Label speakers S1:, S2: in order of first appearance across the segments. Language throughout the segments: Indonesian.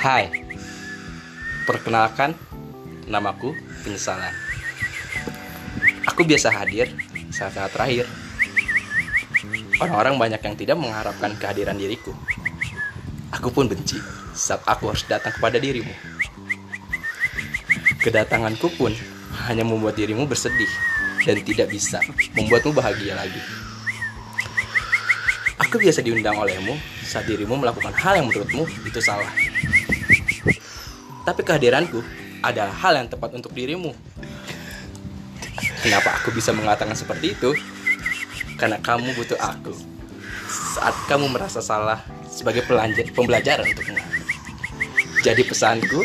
S1: Hai, perkenalkan namaku Penyesalan. Aku biasa hadir saat-saat terakhir. Orang-orang banyak yang tidak mengharapkan kehadiran diriku. Aku pun benci saat aku harus datang kepada dirimu. Kedatanganku pun hanya membuat dirimu bersedih dan tidak bisa membuatmu bahagia lagi. Aku biasa diundang olehmu saat dirimu melakukan hal yang menurutmu itu salah. Tapi kehadiranku adalah hal yang tepat untuk dirimu. Kenapa aku bisa mengatakan seperti itu? Karena kamu butuh aku saat kamu merasa salah sebagai pelanja- pembelajaran untukmu. Jadi pesanku,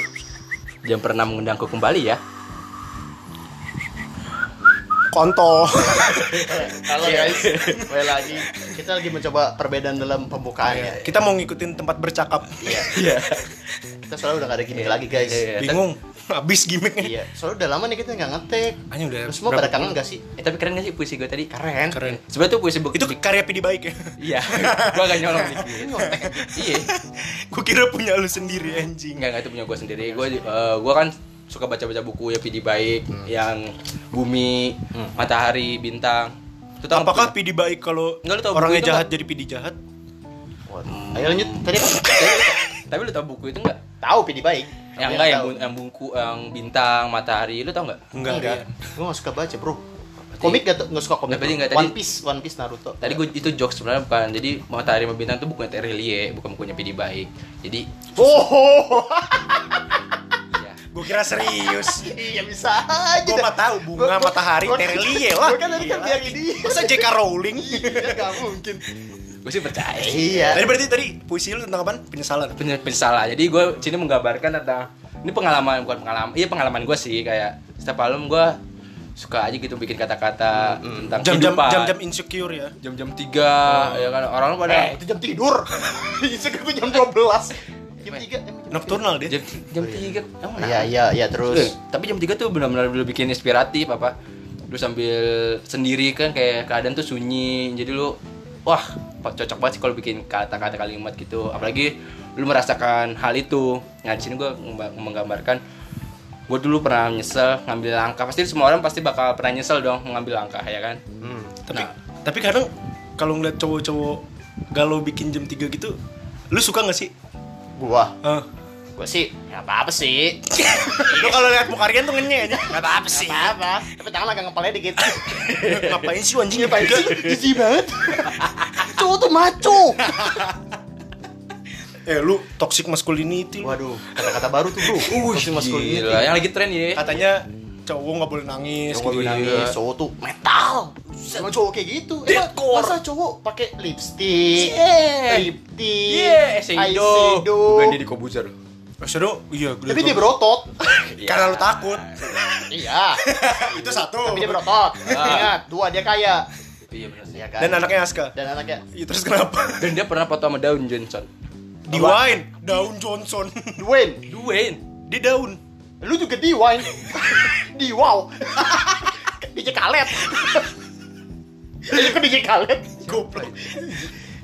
S1: jangan pernah mengundangku kembali ya.
S2: kontol
S3: Halo guys, kembali lagi. Kita lagi mencoba perbedaan dalam ya.
S1: Iya.
S3: pembukaannya.
S2: kita mau ngikutin tempat bercakap
S3: Kita selalu udah gak ada gimmick lagi guys.
S1: Iya, iya.
S2: bingung habis gimmicknya
S3: Iya, soalnya udah lama nih kita nggak ngetek.
S2: Anjing udah
S3: Terus semua
S2: berapa
S3: pada kangen gak sih?
S1: Eh, tapi keren gak sih puisi gue tadi?
S3: Keren.
S2: keren
S1: Sebenernya tuh puisi bu-
S2: itu karya pidi baik ya
S1: Iya, gue agak nyolong dikit. iya,
S2: gue kira punya lu sendiri anjing
S1: enggak enggak itu punya gue sendiri. Gue gua kan suka baca-baca buku ya PD baik
S2: Hmm.
S1: yang bumi, matahari, bintang. Itu tau nggak
S2: apakah
S1: bukunya?
S2: pidi baik kalau
S1: Nggak, lu tahu
S2: orangnya
S1: buku itu
S2: jahat jadi pidi jahat
S3: Waduh. Ayo lanjut. Tadi kan tadi kita
S1: Tapi lu tau buku itu enggak?
S3: tahu pidi baik.
S1: Yang Ya, enggak yang, bu- yang buku yang bintang, matahari, lu tau enggak?
S2: enggak kan?
S3: Enggak.
S2: Rian.
S3: Gue gak suka baca bro. Komik gak, gak suka komik.
S1: Berarti
S3: bro.
S1: nggak tadi-
S3: One Piece, One Piece Naruto.
S1: Tadi gue itu jokes sebenarnya bukan. Jadi matahari sama bintang itu bukunya Terelie, bukan bukunya PD baik. Jadi
S3: Oh,
S1: iya.
S2: gue kira serius
S3: iya bisa aja.
S2: gue mah tahu bunga matahari terelie lah
S3: Gue kan tadi kan bilang ini.
S2: masa JK Rowling
S3: Iya, gak mungkin.
S1: Gue sih percaya.
S3: Iya.
S2: tadi berarti tadi puisi lu tentang apa penyesalan
S1: Penye- penyesalan. Jadi gue sini menggambarkan tentang ini pengalaman bukan pengalaman, iya pengalaman gue sih kayak setiap malam gue suka aja gitu bikin kata-kata tentang
S2: Hmm. jam-jam
S1: kehidupan.
S2: jam-jam insecure ya
S1: jam-jam tiga ya kan orang pada
S3: Eh, itu jam tidur. Itu gue jam 12. Jam 3.
S2: nocturnal deh
S1: jam jam tiga emang
S3: Iya, iya, iya
S1: Eh,
S3: terus.
S1: tapi jam 3 tuh benar-benar lu bikin inspiratif apa lu sambil sendiri kan kayak keadaan tuh sunyi jadi lu wah pa- cocok banget sih kalau bikin kata-kata kalimat gitu apalagi lu merasakan hal itu nah di sini gue menggambarkan gue dulu pernah nyesel ngambil langkah pasti semua orang pasti bakal pernah nyesel dong mengambil langkah ya kan
S2: tapi
S1: Nah.
S2: tapi kadang kalau ngeliat cowok-cowok galau bikin jam 3 gitu lu suka gak sih
S3: Gua.
S2: Ah.
S3: Gua sih nggak apa-apa sih.
S2: lu kalau lihat muka Rian tuh ngenye aja
S3: Enggak apa-apa sih. apa-apa. Tapi tangan agak ngepelnya dikit.
S2: ngapain sih anjing
S3: Ngapain sih? Jijik banget. Cowok tuh maco.
S2: eh lu toxic masculinity lu.
S3: Waduh, kata-kata baru tuh, Bro. Uh,
S1: Gila, yang lagi tren ya
S2: katanya cowok nggak boleh nangis
S3: Cowok
S2: gitu.
S3: nangis, cowok tuh metal. Emang cowok kayak gitu. Emang
S1: Deadcore.
S3: masa cowok pakai lipstick,
S1: Yeah.
S3: lipstick,
S1: Iya, eyeshadow
S3: eyeshadow.
S1: di Kobuzer
S2: Oh, seru iya gue
S3: Tapi dia berotot.
S2: karena lu takut
S3: Iya.
S2: itu satu
S3: Tapi dia berotot. Ingat, dua dia kaya.
S1: iya bener sih
S3: Iya kan?
S2: dan anaknya Aska
S3: dan anaknya
S2: Iya, terus kenapa
S1: dan dia pernah foto sama Daun Johnson
S2: di wine daun Johnson
S3: Dwayne.
S1: Dwayne
S2: di daun
S3: Lu juga di wine. di wow. DJ Khaled. Lu kok DJ Khaled?
S2: goblok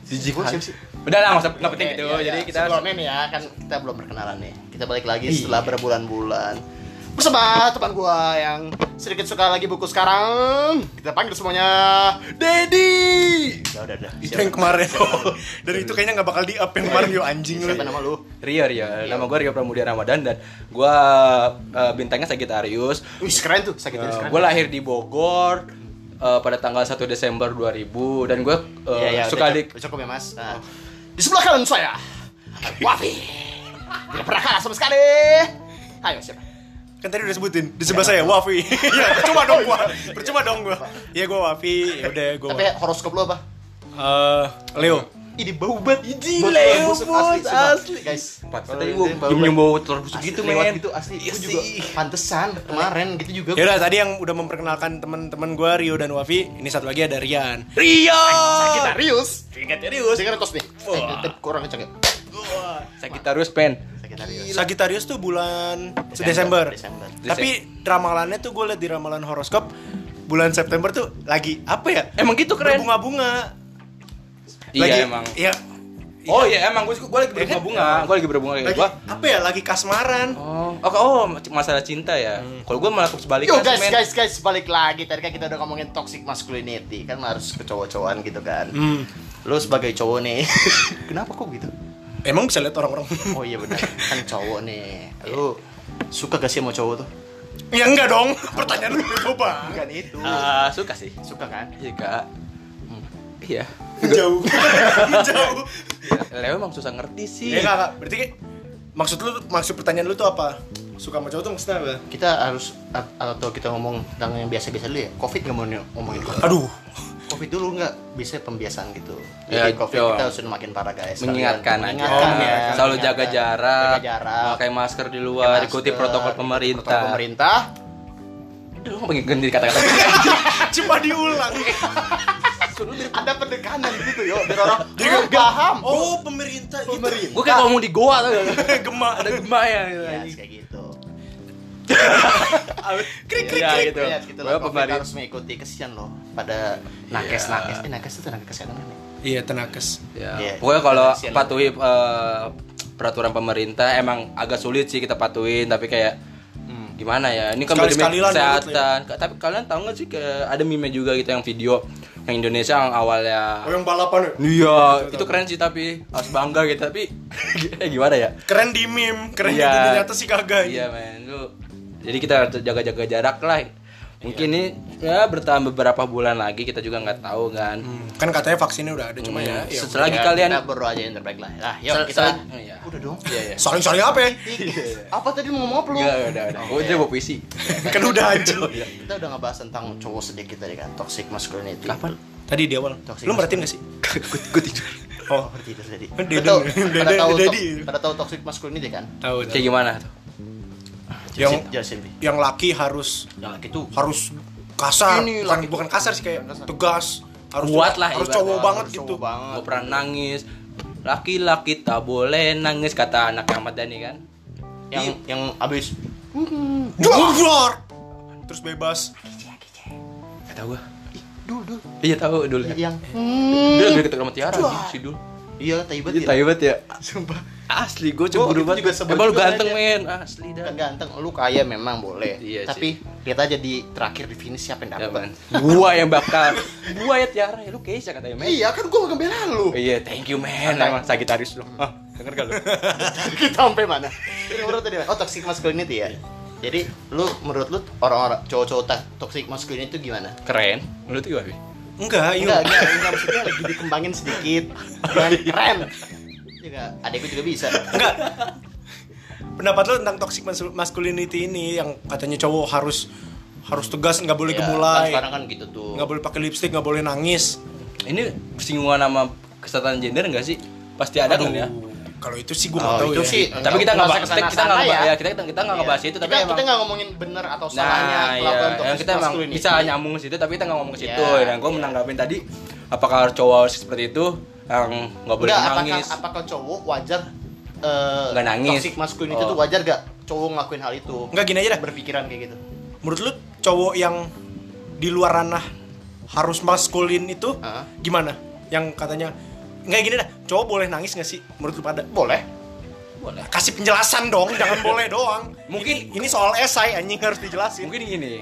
S1: Jijik
S3: Gua siap
S1: banget.
S3: sih.
S1: Udah lah, nggak usah, nggak penting gitu.
S3: Iya, iya.
S1: Jadi kita
S3: sebelumnya nih ya, kan kita belum perkenalan nih. Kita balik lagi
S2: Iya.
S3: setelah berbulan-bulan. Bersama teman gua yang sedikit suka lagi buku sekarang. Kita panggil semuanya.
S1: Daddy.
S3: Udah, udah, udah.
S2: itu
S3: Siapa,
S2: yang kemarin oh, dan itu kayaknya nggak bakal di up yang kemarin yo anjing lu
S3: siapa nama lu?
S1: Rio, Rio.
S3: Iya.
S1: Nama gue Rio Pramudia Ramadan dan gue bintangnya Sagittarius.
S3: Wih, keren tuh. Sakit
S2: Ya,
S1: Eh,
S3: keren.
S1: gue lahir di Bogor eh, pada tanggal 1 Desember 2000 dan gue eh,
S3: Iya, iya,
S1: suka
S3: udah
S1: di
S3: cukup, cukup ya mas. Nah, Di sebelah kanan saya, Wafi. Tidak pernah kalah sama sekali. Ayo siapa?
S2: kan tadi udah sebutin di sebelah saya Wafi ya percuma dong gua percuma dong gua ya gua Wafi ya udah gua
S3: Tapi horoskop lo apa?
S2: Eh, Leo
S3: Ini bau banget.
S1: Ini
S3: Bau-
S1: Leo,
S3: bau busuk asli,
S1: ya, bos,
S3: sumpah.
S1: asli.
S3: Guys,
S1: Pantes
S3: kalau
S1: tadi
S3: ini
S1: gue
S3: bau
S1: nyium
S3: banget.
S1: bau telur busuk
S3: Asli,
S1: gitu
S3: lewat
S1: men
S3: gitu asli.
S1: Iya
S3: Gue juga
S1: sih. Iya.
S3: pantesan kemarin gitu juga.
S2: ya udah tadi yang udah memperkenalkan teman-teman gua Rio dan Wafi ini satu lagi ada Rian
S1: Rio
S3: Sagitarius.
S1: Sagittarius
S3: Dengar kos nih. Eh, tetep kurang kenceng ya.
S1: Sagittarius pen
S3: Sagitarius.
S2: Sagittarius tuh bulan Desember.
S3: Desember.
S2: Tapi ramalannya tuh gue liat di ramalan horoskop bulan September tuh lagi apa ya?
S1: Emang gitu keren
S2: Bunga-bunga.
S1: Iya emang
S2: Ya,
S1: Oh iya emang gue gue lagi berbunga-bunga, gue Iya kan? lagi berbunga kayak
S2: Lagi,
S1: gue.
S2: apa ya? Lagi kasmaran.
S1: Oh, oh, oh masalah cinta ya. Kalau gue malah sebaliknya.
S3: Yo guys,
S1: men.
S3: guys, guys, balik lagi. Tadi kan kita udah ngomongin toxic masculinity, kan harus ke cowok-cowokan gitu kan.
S2: Hmm.
S3: Lu sebagai cowok nih, kenapa kok gitu?
S2: Emang bisa lihat orang-orang?
S3: Oh iya benar, kan cowok nih. Lu suka gak sih sama cowok tuh?
S2: ya enggak dong. Pertanyaan lu bego banget.
S3: Bukan itu.
S1: Ah, suka sih.
S3: suka kan?
S1: Iya kak. Iya.
S2: Jauh. Jauh.
S1: Leo emang susah ngerti sih.
S2: Iya kakak. Berarti kayak- maksud lu maksud pertanyaan lu tuh apa? Suka sama cowok tuh maksudnya apa?
S3: Kita harus a- atau kita ngomong tentang yang biasa-biasa dulu ya. Covid nggak mau ni- ngomongin covid.
S1: Iya.
S2: Aduh.
S3: Covid dulu nggak bisa pembiasaan gitu.
S1: Ya,
S3: Jadi covid
S1: yo.
S3: kita harus makin parah guys. Sekalian.
S1: mengingatkan aja. Iya.
S2: Oh,
S3: Mengingatkan ya.
S1: Selalu
S3: Mengingatkan.
S1: jaga jarak,
S3: Jaga jarak.
S1: pakai masker di
S3: pakai
S1: luar,
S3: masker,
S1: ikuti protokol
S3: ikuti
S1: pemerintah.
S3: Protokol pemerintah.
S1: Aduh, pengen ganti kata-kata.
S2: Cuma diulang.
S3: Ada pendekanan gitu yo. Biar orang
S1: Iya.
S3: oh, paham.
S2: Oh, pemerintah gitu.
S1: Gue kayak ngomong di goa tuh.
S2: Gemak.
S1: Ada gema ya. gitu.
S3: Ya, kayak gitu.
S2: Krik krik
S1: Iya,
S2: krik.
S1: gitu.
S3: Ya, gitu
S1: Gua Iya.
S3: loh. Covid
S1: pemerintah.
S3: harus mengikuti kesian loh. Pada nakes-nakes. Eh, nakes itu tenaga kesehatan kan ya?
S2: Iya, tenakes.
S1: Ya,
S3: Iya.
S1: pokoknya kalau
S3: Kasian lu.
S1: patuhi eh, peraturan pemerintah emang agak sulit sih kita patuhin tapi kayak hmm, gimana ya ini kan
S2: Sekali-
S1: pandemi
S2: sekalilan
S1: kesehatan Ka- tapi kalian tahu nggak sih kayak ada meme juga gitu yang video yang Indonesia yang awalnya
S2: Oh, yang balapan ya?
S1: iya itu keren sih tapi harus bangga gitu tapi gimana ya
S2: Keren di meme, keren
S1: Iya.
S2: di ternyata sih kagak.
S1: Iya men, lu jadi kita harus jaga-jaga jarak lah. Mungkin ini ya bertahan beberapa bulan lagi kita juga nggak tahu kan.
S2: Hmm, Kan katanya vaksinnya udah ada cuma ya. ya.
S1: Setelah lagi
S3: Ya,
S1: kalian
S3: kita baru aja yang terbaik lah. Lah, yuk
S1: Sel-
S3: kita.
S1: sel- iya.
S3: Udah dong.
S1: Iya iya.
S2: Saling saling apa ya?
S3: Apa tadi lu ngomong apa lu?
S1: Enggak, udah udah. Gue udah mau puisi.
S2: Kan udah aja.
S3: Kita udah ngebahas tentang cowok sedikit tadi kan, toxic masculinity.
S1: Kapan?
S2: Tadi di awal.
S3: Toxic
S2: Lu merhatiin gak sih?
S1: Gue tidur.
S2: Oh,
S3: Seperti itu tadi.
S1: Kan
S2: Dede,
S3: Pada tahu,
S2: dede,
S3: pada tahu,
S2: dede.
S3: pada tahu toxic masculinity kan?
S2: tahu.
S1: Kayak gitu. gimana tuh?
S2: Yang
S3: Jelasin, jelasin. Bi.
S2: yang laki harus
S3: Yang laki tuh
S2: harus kasar.
S3: Ini
S2: bukan,
S3: laki.
S2: bukan kasar sih kayak
S3: Kasar.
S2: tegas. Harus
S1: Kuat lah
S2: Harus
S1: ibaratnya,
S2: cowok banget
S3: harus
S2: gitu.
S3: cowok banget.
S1: Gue pernah nangis. Laki-laki tak boleh nangis kata anak Ahmad Dhani kan.
S3: Yang yang abis
S2: Jor! Terus bebas.
S1: Kata gue.
S3: dul dul
S1: Iya tahu dulu. ya.
S3: yang
S1: Dia lebih ketemu sama Tiara
S3: Wah.
S1: sih dulu.
S3: iya taibat
S1: Iya
S3: ya.
S1: taibat ya.
S3: Sumpah.
S1: Asli gue cemburu
S3: Gua gitu juga
S1: banget.
S3: sebel
S1: Emang lu
S3: juga
S1: ganteng
S3: aja.
S1: men. Asli dah.
S3: Kan ganteng, lu kaya memang boleh.
S1: Iya
S3: Tapi lihat aja di terakhir di finish siapa yang
S1: Ya, man.
S3: dapat.
S1: gua yang bakal gua ya Tiara ya lu Keisha katanya men
S3: Iya, kan gua ngebela lu.
S1: iya thank you man emang Sagitarius lu Hah, Hmm. denger gak lu
S3: kita sampai mana? Ini menurut tadi, oh toxic masculinity
S1: Iya.
S3: ya. Jadi lu menurut lu orang-orang cowok-cowok ta- toxic masculinity itu gimana?
S1: keren menurut gua Bi.
S2: Enggak, iya.
S3: Enggak, enggak, enggak maksudnya lagi dikembangin sedikit. Jangan keren. Juga adekku juga bisa.
S2: Pendapat lu tentang toxic mas- masculinity ini yang katanya cowok harus harus tegas, nggak boleh
S3: Ya, Kan
S2: gemulai,
S3: sekarang kan gitu tuh.
S2: nggak boleh pakai lipstick, nggak boleh nangis.
S1: ini singgungan sama kesetaraan gender enggak sih pasti ada kan
S2: Aduh,
S1: ya
S2: Kalau itu sih gue nggak tahu
S3: Oh, itu
S2: ya.
S3: sih.
S1: tapi kita nggak
S3: Nggak usah
S1: bahas kita nggak
S3: kesana-sana
S1: bahas
S3: ya.
S1: ya kita kita nggak ngebahas itu tapi
S3: kita,
S1: emang
S3: kita nggak ngomongin benar atau salahnya
S1: Nah,
S3: kelakuan
S1: iya,
S3: toxic
S1: kita emang
S3: masculinity.
S1: bisa nyambung ke situ, tapi kita nggak ngomong ke situ.
S3: Iya,
S1: yang gue
S3: iya.
S1: menanggapin tadi, apakah cowok seperti itu yang nggak boleh
S3: Enggak, apakah,
S1: nangis?
S3: apakah cowok wajar eh,
S1: Nggak nangis.
S3: Toxic masculinity
S1: Oh.
S3: itu wajar gak cowok ngelakuin hal itu?
S2: Nggak, gini aja dah.
S3: Berpikiran kayak gitu.
S2: Menurut lu cowok yang di luar ranah harus maskulin itu
S3: Hah?
S2: gimana? Yang katanya nggak gini dah, cowok boleh nangis nggak sih? Menurut lu pada?
S3: Boleh.
S1: Boleh.
S2: Kasih penjelasan dong, jangan boleh doang.
S1: Mungkin-
S2: ini, ini soal esai anjing harus dijelasin.
S1: Mungkin gini,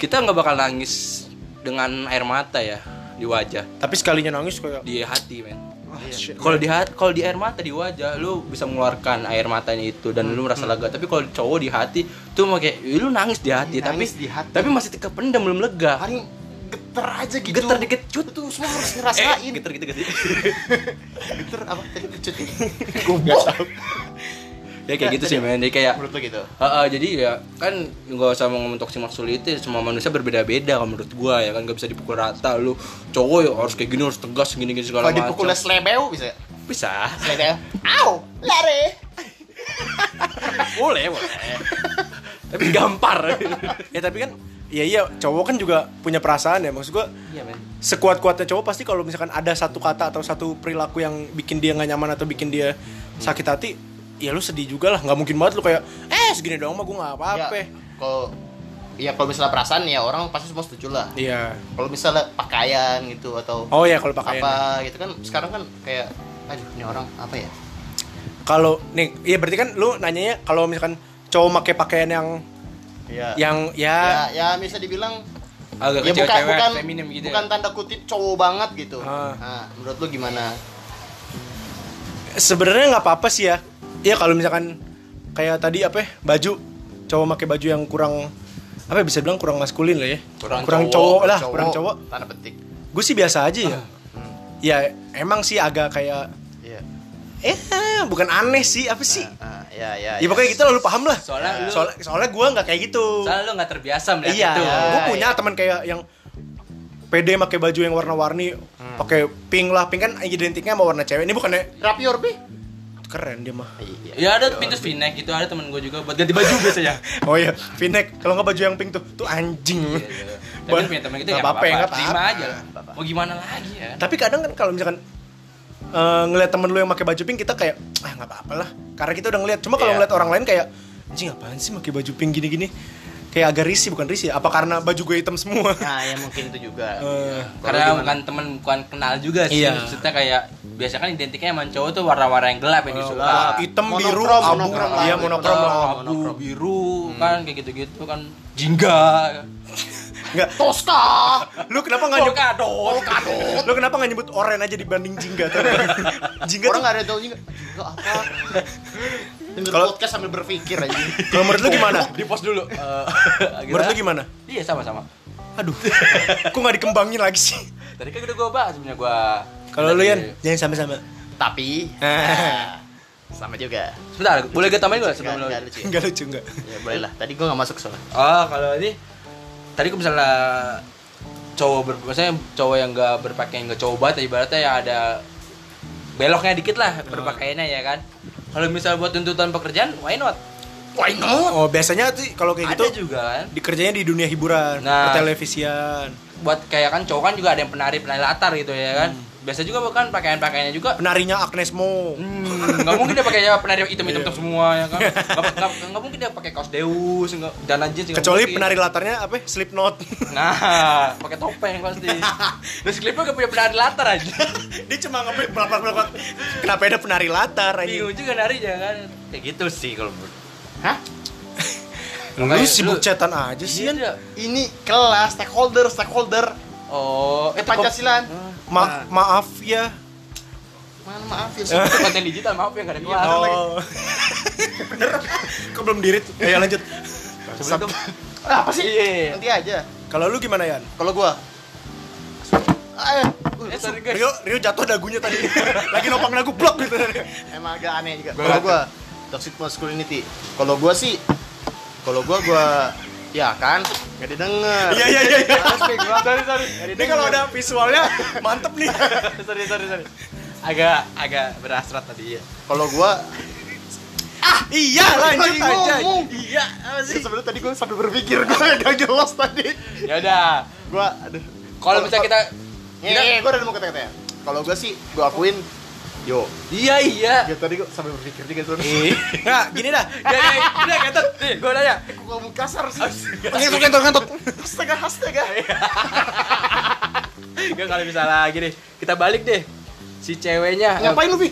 S1: kita nggak bakal nangis dengan air mata ya di wajah,
S2: Tapi sekalinya nangis kayak
S1: di hati men.
S2: "Wah, shit."
S1: Kalau di hat, kalau di air mata di wajah, lu bisa mengeluarkan air matanya itu dan lu
S3: Hmm.
S1: merasa lega. Tapi kalau cowok di hati, tuh mau kayak "Ih, lu nangis di hati,
S3: Ih,
S1: tapi
S3: Iya, nangis di hati.
S1: tapi masih kependam belum lega.
S3: Paling geter aja gitu. Eh,
S1: Getar dikit, cut.
S3: Itu semua harus ngerasain.
S1: Geter gitu gitu.
S3: geter apa tadi kecut. Goblok.
S1: ya kayak gitu sih men, jadi kayak
S3: Menurut lo gitu.
S1: Ah, ah, jadi ya kan nggak usah mau ngomong toxic masculinity semua manusia berbeda-beda kalau menurut gua ya kan nggak bisa dipukul rata lu cowok ya harus kayak gini harus tegas gini gini segala
S3: Kalau
S1: macam
S3: dipukul slebeu bisa.
S1: bisa
S3: Slebeu. Au, lari.
S1: boleh boleh tapi gampar
S2: ya tapi kan ya iya cowok kan juga punya perasaan ya maksud gua
S1: iya men
S2: sekuat-kuatnya cowok pasti kalau misalkan ada satu kata atau satu perilaku yang bikin dia nggak nyaman atau bikin dia sakit hati ya lu sedih juga lah nggak mungkin banget lu kayak eh segini doang mah gue nggak apa-apa
S3: Ya, kalau ya kalau misalnya perasaan ya orang pasti semua setuju lah.
S2: iya
S3: Kalau misalnya pakaian gitu atau
S2: oh ya kalau pakaian
S3: apa gitu kan sekarang kan kayak aduh ini orang apa ya
S2: Kalau nih, iya berarti kan lu nanyanya kalau misalkan cowok pakai pakaian yang
S3: Iya.
S2: yang
S3: ya,
S2: ya,
S3: ya bisa dibilang
S1: agak
S3: ya bukan
S1: kecewek-cewek,
S3: bukan
S1: feminim gitu
S3: bukan tanda kutip cowok banget gitu.
S2: Ah.
S3: Nah, menurut lu gimana?
S2: sebenarnya nggak apa-apa sih ya. Iya kalau misalkan kayak tadi apa ya, baju cowok pakai baju yang kurang apa ya, bisa bilang kurang maskulin lah ya. cowok, lah, kurang cowok.
S3: Tanda petik.
S2: Gue sih biasa aja ya. Ya emang sih agak kayak
S3: Iya.
S2: eh bukan aneh sih apa sih?
S3: Ah, ya, ya.
S2: Ya pokoknya gitu lah lu paham lah.
S1: Soalnya lu-
S2: soalnya, soalnya gue nggak kayak gitu.
S1: soalnya lu nggak gitu. terbiasa melihat
S2: Iya,
S1: itu
S2: gue punya teman kayak yang PD pakai baju yang warna-warni, pakai pink lah, pink kan identiknya sama warna cewek. Ini bukannya
S3: rapi orbi.
S2: keren dia mah.
S3: Iya.
S1: ya ada pintu spinek gitu ada temen gue juga buat ganti baju biasanya
S2: Oh iya, v-neck. Kalau nggak baju yang pink tuh, tuh anjing.
S1: tapi
S2: Bah-
S1: punya temen gitu
S2: nggak
S1: ya
S2: apa-apa, nggak
S1: terima
S2: apa-apa.
S1: aja lah mau gimana lagi ya
S2: Tapi kadang kan kalau misalkan eh, ngelihat temen lu yang pakai baju pink kita kayak ah nggak apa-apa lah karena kita udah ngelihat cuma kalau
S3: Iya.
S2: ngelihat orang lain kayak anjing apaan sih pakai baju pink gini-gini kayak agak risih bukan risih ya? apa karena baju gue hitam semua
S3: Nah, ya mungkin itu juga.
S2: Eh,
S1: karena
S3: Kalau
S1: bukan temen bukan kenal juga sih
S2: Iya.
S1: maksudnya kayak biasanya kan identiknya sama cowok tuh warna-warna yang gelap yang disuka
S2: gelap, hitam biru
S3: Monokrom,
S2: abu
S3: monokrom lah.
S2: iya
S1: Hitam,
S2: monokrom lah.
S1: abu biru
S2: hmm.
S1: kan kayak gitu-gitu kan jingga
S2: nggak
S3: Tosca.
S2: lu kenapa nggak nyebut
S1: polkadot
S2: lu kenapa nggak nyebut oren aja dibanding jingga tuh jingga tuh
S3: Orang enggak ada tahu juga. Juga apa? Dengar
S2: Kalau-
S3: podcast sambil berpikir aja.
S2: kalau menurut lu gimana
S1: di pos dulu Eh,
S2: menurut lu gimana
S1: iya sama-sama
S2: aduh kok nggak dikembangin lagi sih
S1: tadi kan udah gue bahas sebenarnya gue
S2: kalau lu
S1: ya.
S2: Yan jangan sama-sama
S3: Tapi nah, sama juga.
S1: sebentar boleh gue tambahin gue sebelum
S3: Enggak
S1: lu
S3: enggak lucu. ya?
S2: nggak lucu nggak
S3: Ya boleh lah. Tadi gua enggak masuk soalnya.
S1: Oh, kalau ini tadi kalau misalnya cowok ber, maksudnya cowok yang gak berpakaian gak cowok banget ibaratnya yang ada beloknya dikit
S2: Ah.
S1: lah berpakaiannya ya kan. Kalau misal buat tuntutan pekerjaan, why not?
S3: Why not?
S2: oh biasanya tuh kalau kayak
S1: ada
S2: gitu
S1: juga kan.
S2: dikerjanya di dunia hiburan
S1: Nah.
S2: pertelevisian
S1: Buat kayak kan cowok kan juga ada yang penari penari latar gitu ya kan.
S2: Hmm.
S1: Biasa juga bukan pakaian pakaiannya juga.
S2: penarinya Agnes Mo
S1: Hmm, nggak mungkin dia pakai penari hitam
S2: Iya.
S1: hitam semua ya kan. Nggak, nggak, nggak mungkin dia pakai kaos Deus nggak, dan aja
S2: kecuali penari latarnya apa Slipknot
S1: Nah, pakai topeng pasti. Terus klipnya gak punya penari latar aja.
S2: dia cuma ngebut pelak pelak kenapa ada penari latar aja
S1: bingung juga narinya kan kayak gitu sih kalau menurut
S3: Hah?
S2: lu sibuk chatan aja sih
S1: ya, iya
S2: Yan.
S1: iya.
S3: Ini kelas stakeholder, stakeholder.
S1: oh
S3: Eh
S1: itu kom-
S3: Pancasilaan.
S1: Nah.
S2: Ma- maaf ya
S3: Mana maaf ya.
S1: itu konten digital maaf ya gak ada keluar
S2: Oh. Kok belum dirit? Ayo lanjut.
S1: sebelum itu
S3: Ah, apa sih?
S1: Iya.
S3: Nanti aja.
S2: Kalau lu gimana, Yan?
S3: Kalau gua eh, uh,
S1: eh sorry guys
S2: Rio, Rio jatuh dagunya tadi. Lagi nopang lagu blok gitu tadi.
S3: emang agak aneh juga.
S1: Gua
S3: Kalau
S1: ngerti.
S3: gua toxic masculinity. Kalau gua sih kalau gua gua ya kan nggak didengar.
S2: Iya, iya, iya, iya.
S3: Harus deh gua.
S1: sorry sorry
S2: Ini kalau ada visualnya mantep nih.
S1: sorry sorry sorry agak agak berasrat tadi ya
S3: Kalau gua
S2: iya, lanjut aja.
S3: Iya, apa sih? Sebenarnya tadi gua sambil berpikir gua agak jelas tadi.
S1: ya udah
S3: Gua aduh.
S1: kalau misalnya kita
S3: Iya, iya, gua udah mau kata-kata ya. Kalau gua sih gua akuin yo.
S1: iya iya
S3: Ya tadi gua sambil berpikir juga tuh.
S2: Nah, gini dah.
S1: ya ya udah kata nih gue nanya
S3: Kok ngomong kasar sih?
S2: Ngentot ngentot ngentot.
S3: Astaga, astaga.
S1: Gak kalau misalnya gini kita balik deh si ceweknya eh,
S3: Ngapain lu, Bi?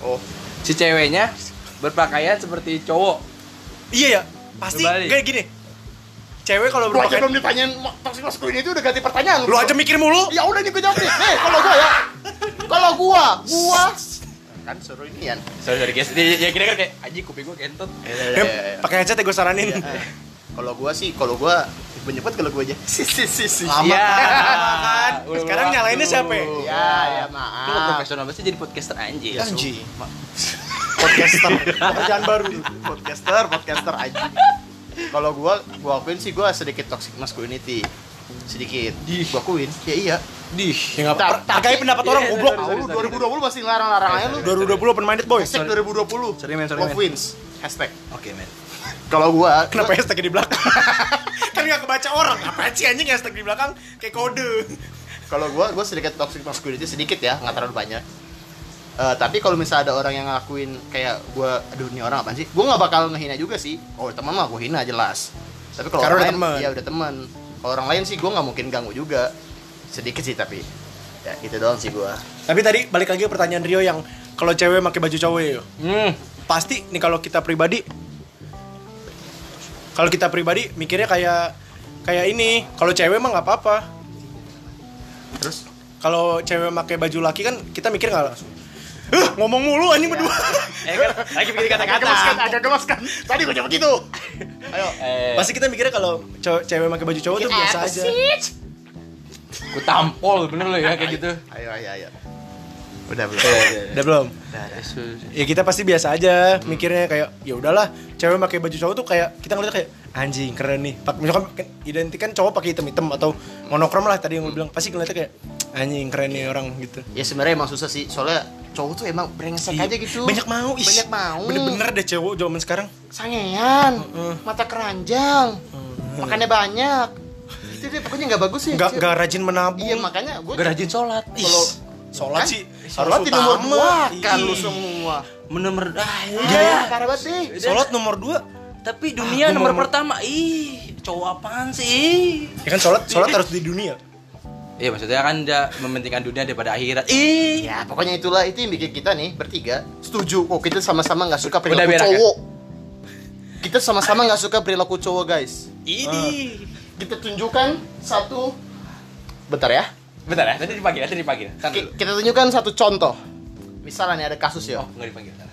S3: Oh,
S1: si ceweknya berpakaian seperti cowok
S2: Iya ya. Pasti
S1: Kembali.
S2: kayak gini. Cewek kalau
S3: Lu aja
S2: berpakaian
S3: belum ditanyain ma- toxic masculinity itu udah ganti pertanyaan.
S2: lu aja mikir mulu.
S3: Ya udah nih gue jawab nih. Nih, kalau gua ya. Kalau gua, gua kan suruh ini kan.
S1: sorry sorry guys Ini- ya kira-kira kayak aji kuping gue kentut
S3: Iya,
S2: Yap, Pakai aja gue
S1: Iya.
S2: saranin.
S3: Eh, Kalau gua sih, kalau gua penyebut kalau gua aja. Si si si si.
S1: Iya.
S2: Kan.
S1: Udah
S2: Sekarang
S1: waktu.
S2: nyalainnya siapa?
S3: Ya, ya
S1: Lu nggak
S3: maaf.
S1: profesional banget sih jadi podcaster Iya, anjing.
S3: Ya,
S2: Anjing.
S3: Ma- Podcaster. Kerjaan baru. Podcaster, podcaster anjing. Kalau gua, gua akuin sih gua sedikit toxic masculinity. Sedikit. Gua akuin. Ya iya.
S1: Di.
S2: Ya enggak
S3: Tapi-
S2: apa-apa. Hargai pendapat
S1: Iya,
S2: orang
S1: iya,
S2: goblok.
S1: sorry,
S3: Tahu
S1: sorry,
S3: lu
S1: sorry.
S3: 2020 masih larang-larang aja lu.
S2: 2020 open minded boys.
S3: Hashtag 2020.
S1: Sorry, men, sorry,
S3: Love
S1: men.
S3: wins. Hashtag.
S1: Oke, men.
S3: Kalau gua
S2: Kenapa hashtag di belakang? kan nggak kebaca orang. Apaan sih anjing hashtag di belakang? Kayak kode.
S3: kalau gua gua sedikit toxic masculinity sedikit ya nggak terlalu banyak Eh, tapi kalau misalnya ada orang yang ngelakuin kayak gua aduh ini orang apa sih gua nggak bakal ngehina juga sih oh teman mah gua hina jelas tapi kalau
S2: Karena
S3: orang
S2: udah
S3: lain
S2: teman.
S3: ya udah teman kalau orang lain sih gua nggak mungkin ganggu juga sedikit sih tapi ya itu doang sih gua
S2: Tapi tadi balik lagi ke pertanyaan Rio yang kalau cewek pakai baju cowok ya.
S1: Hmm.
S2: Pasti nih kalau kita pribadi kalau kita pribadi mikirnya kayak kayak ini, kalau cewek mah nggak apa-apa.
S3: Terus
S2: Kalau cewek pakai baju laki kan kita mikir nggak langsung. "Huh, ngomong mulu anjing berdua.
S1: Eh kan lagi bikin
S3: agak
S1: kata-kata.
S3: gemaskan, agak gemaskan. Tadi gue jawab gitu. Ayo.
S1: Eh,
S2: Pasti kita mikirnya kalau cow- cewek pakai baju cowok tuh biasa
S3: Apa
S2: aja.
S3: Iya sih?
S1: ku tampol bener lo ya kayak gitu.
S3: Ayo, ayo, ayo. Udah belum. iya.
S2: Udah belum?
S3: Udah,
S1: Eh,
S3: udah.
S2: ya kita pasti biasa aja mikirnya kayak ya udahlah cewek pakai baju cowok tuh kayak kita ngeliatnya kayak anjing keren nih Pak, misalkan kan identik kan cowok pakai hitam hitam atau monokrom lah tadi yang lu bilang pasti ngeliatnya kayak anjing keren nih orang gitu
S3: Ya sebenarnya emang susah sih, soalnya cowok tuh emang brengsek
S2: Iya.
S3: aja gitu.
S2: banyak mau ih.
S3: Banyak mau.
S2: bener-bener deh cowok zaman sekarang
S3: Sangean,
S2: Heeh.
S3: mata keranjang, makannya banyak. Itu deh pokoknya nggak bagus sih.
S2: nggak
S3: Cip.
S2: nggak rajin menabung
S3: Iya makanya gue
S1: Gak rajin sholat.
S2: kalau
S1: Kalau
S2: sholat sih
S3: Sholat di nomor
S2: utama. Iya.
S3: dua kan lu
S2: Ih.
S3: semua.
S1: nomor ah,
S3: Iya,
S1: iya. Ah,
S3: parah banget sih.
S2: sholat nomor dua
S1: Tapi dunia
S2: Aku
S1: nomor
S2: mau-
S1: pertama. Ih, cowok apaan sih? Ih.
S2: ya kan sholat sholat harus di dunia
S1: Iya maksudnya kan dia mementingkan dunia daripada akhirat. Ih.
S3: Ya pokoknya itulah itu yang bikin kita nih bertiga setuju kok kita sama-sama nggak suka
S1: Udah
S3: perilaku
S1: berak ya?
S3: cowok. Kita sama-sama nggak suka perilaku cowok guys.
S1: Iya. Ini.
S3: Kita tunjukkan satu bentar ya.
S1: Bentar ya, nanti dipanggil, nanti dipanggil. Kan
S3: Ki-
S1: dulu.
S3: Kita tunjukkan satu contoh. Misalnya nih ada kasus ya.
S1: Oh, enggak dipanggil. sana.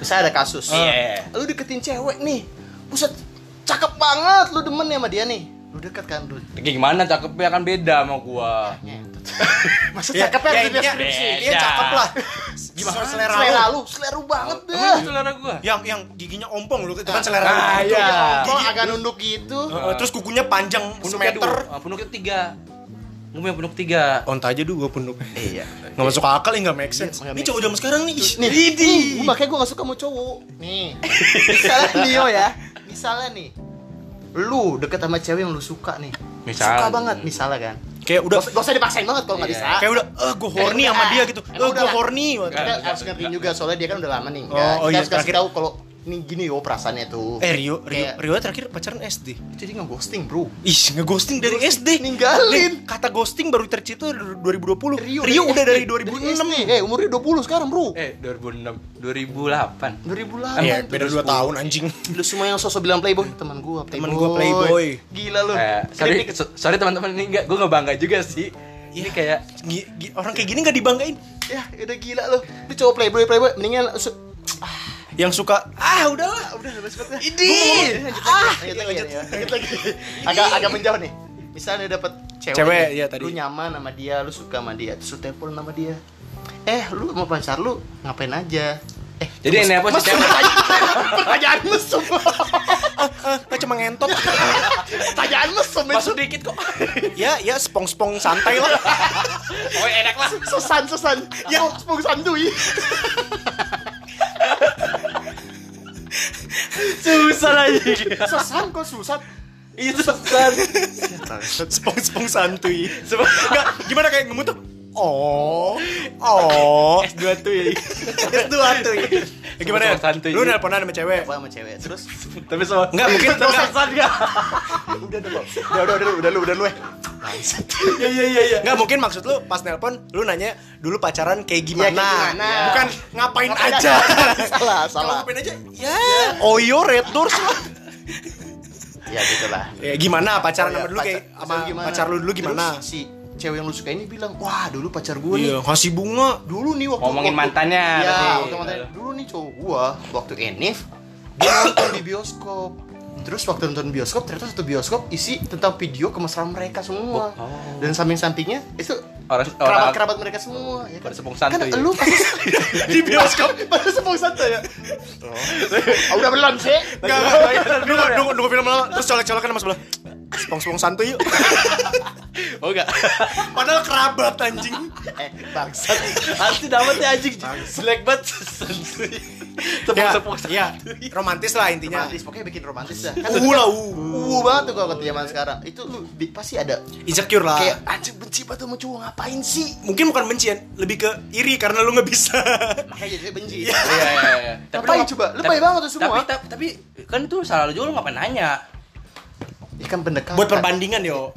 S3: Misalnya ada kasus.
S1: Iya.
S3: Lu deketin cewek nih. Buset, cakep banget lu demen ya sama dia nih. Lu deket kan lu.
S1: Kayak gimana cakepnya kan beda sama gua.
S3: Nyentot. Maksud
S2: Iya,
S3: cakepnya
S2: ya,
S3: harus
S2: intinya-
S3: dideskripsi.
S2: intinya cakep lah gimana selera,
S3: Selera
S2: lu Iya.
S3: lu, selera lu banget Gitu deh.
S1: Emang itu selera gua.
S2: yang yang giginya ompong lu itu kan selera lu
S1: Ah,
S2: Gitu.
S1: iya.
S3: Kok agak nunduk gitu.
S2: Heeh, terus kukunya panjang
S1: Punuknya
S2: semeter.
S1: dua, ah, punuknya tiga. Gua punya punuk tiga.
S2: Onta aja dulu gue punduk.
S3: Iya.
S2: Nggak masuk akal ya nggak make sense.
S3: nggak
S2: Ini
S3: make
S2: cowok zaman sekarang nih. ih,
S3: Nih, Uh,
S2: Idi.
S3: nih, makanya gue gak suka sama cowok. Nih, misalnya Nio ya, misalnya nih, lu deket sama cewek yang lu suka nih,
S1: Misalnya.
S3: suka banget misalnya kan.
S2: Kayak udah
S3: Udah, gak usah dipaksain banget kalau nggak
S1: Iya.
S3: bisa.
S2: kayak udah eh gue horny sama dia gitu. Eh
S3: Emang uh, udah
S2: gue
S3: lah.
S2: horny.
S3: Kita harus ngertiin juga soalnya dia kan udah lama nih.
S2: Oh,
S3: Nggak,
S2: oh
S3: kita
S2: iya,
S3: harus kasih
S2: terakhir.
S3: tahu kalau ini gini yo perasaannya tuh.
S2: Eh Rio, Rio,
S3: Kayak-
S2: Rio terakhir pacaran SD.
S3: jadi nggak ghosting bro.
S2: Ih, ngeghosting dari SD. Nih,
S3: Ninggalin.
S2: kata ghosting baru tercipta 2020. Rio,
S3: dari
S2: udah
S3: SD,
S2: dari
S3: dari
S2: 2006.
S3: SD. Eh umurnya 20 sekarang bro.
S1: Eh, 2006, 2008.
S3: 2008
S2: Iya,
S3: tuh.
S2: beda 2 tahun anjing.
S3: Lu semua yang sosok bilang playboy, teman gua playboy.
S2: Teman gua playboy.
S3: Gila lu.
S1: Eh, sorry,
S3: Kritik.
S1: so- sorry teman-teman ini enggak, gue nggak bangga juga sih. Ini kayak
S2: Gi- gi- orang kayak gini nggak dibanggain.
S3: Ya, udah gila lu. Lu cowok playboy playboy mendingan su-
S2: Yang suka ah udahlah.
S3: udah bebas banget. dah.
S2: Idi.
S3: Lanjut
S2: Ah,
S3: lagi, lanjut lagi, ya. lanjut lagi. Agak agak menjauh nih. Misalnya lu dapet cewek,
S2: Cewek,
S3: nih.
S2: iya, tadi.
S3: Lu nyaman sama dia, lu suka sama dia, terus lu telepon sama dia. Eh, lu sama pacar lu ngapain aja? Eh,
S1: jadi ini apa sih cewek?
S3: pertanyaan mesum.
S2: Ah, ah, cuma ngentot.
S3: pertanyaan mesum itu.
S1: Masuk dikit kok.
S2: ya, ya spong-spong santai lah.
S1: Oh, enak lah.
S3: Susan, Susan. Ya, Spung Sandui.
S1: Susah lagi.
S3: Susan kok Susan?
S1: Itu kan. susah.
S2: Spong-spong santuy. Enggak, gimana kayak ngemutuk? Oh, oh.
S1: S2 tuh ya.
S2: S2 tuh. Ya, gimana ya?
S1: Spong-spong santuy.
S2: Lu nelponan sama cewek.
S3: Gua sama cewek. Terus
S1: Tapi semua
S2: Enggak, mungkin enggak.
S3: udah deh, Bang. udah udah udah udah lu udah lu. eh.
S1: Iya iya iya iya.
S2: Enggak mungkin maksud lu pas nelpon lu nanya dulu pacaran kayak gimana.
S3: Ya, kayak gimana.
S2: Bukan ngapain
S3: Ngapain
S2: aja.
S3: salah, Iya.
S2: Kalau
S3: salah.
S2: ngapain aja? Ya, Oyo Red Doors lah.
S3: Ya gitulah.
S2: Ya gimana pacaran
S3: Oh,
S2: sama
S3: ya,
S2: dulu kayak
S3: pacar-
S2: sama
S3: pacar gimana?
S2: pacar lu dulu gimana?
S3: Terus si cewek yang lu suka ini bilang, "Wah, dulu pacar gue nih."
S2: Iya, kasih bunga.
S3: Dulu nih waktu
S1: Ngomongin
S3: waktu-
S1: mantannya
S3: Iya,
S1: berarti.
S3: waktu mantannya. Dulu nih cowok gua waktu Enif dia nonton di bioskop. Terus waktu nonton bioskop ternyata satu bioskop isi tentang video kemesraan mereka semua.
S1: Oh.
S3: Dan samping-sampingnya itu
S1: Orang orang
S3: kerabat-kerabat mereka semua
S1: Oh,
S3: ya
S1: nah. Pada sepung santuy
S3: Kan
S1: ya?
S3: lu pasti
S2: Di bioskop.
S3: pada sepung santai ya. Oh. udah belum sih?
S2: Enggak,
S1: Nah.
S2: enggak, enggak. Nunggu, nunggu, nunggu film lama terus colek-colekan sama sebelah. Spong-spong santuy yuk.
S1: Oh enggak.
S2: Padahal kerabat anjing.
S3: Eh, bangsat.
S1: Pasti dapatnya ya, anjing jelek banget santuy.
S2: Ya,
S1: Tepuk-tepuk
S2: ya, romantis lah intinya.
S3: Romantis, pokoknya bikin romantis dah. Kan
S2: Uh lah, uh.
S3: Uh banget tuh kalau ke zaman sekarang. Itu lu bi- pasti ada
S2: Insecure lah.
S3: kayak anjir benci banget sama cowok ngapain sih?
S2: mungkin bukan benci ya, lebih ke iri karena lu nggak bisa.
S3: Makanya jadi benci.
S1: Iya iya iya.
S3: Ngapain
S1: lu-
S3: coba? Lebay
S1: tapi-
S3: banget tuh semua.
S1: Tapi tapi, tapi kan itu salah lu juga lu ngapain nanya.
S3: Ya kan pendekatan.
S2: Buat perbandingan yo.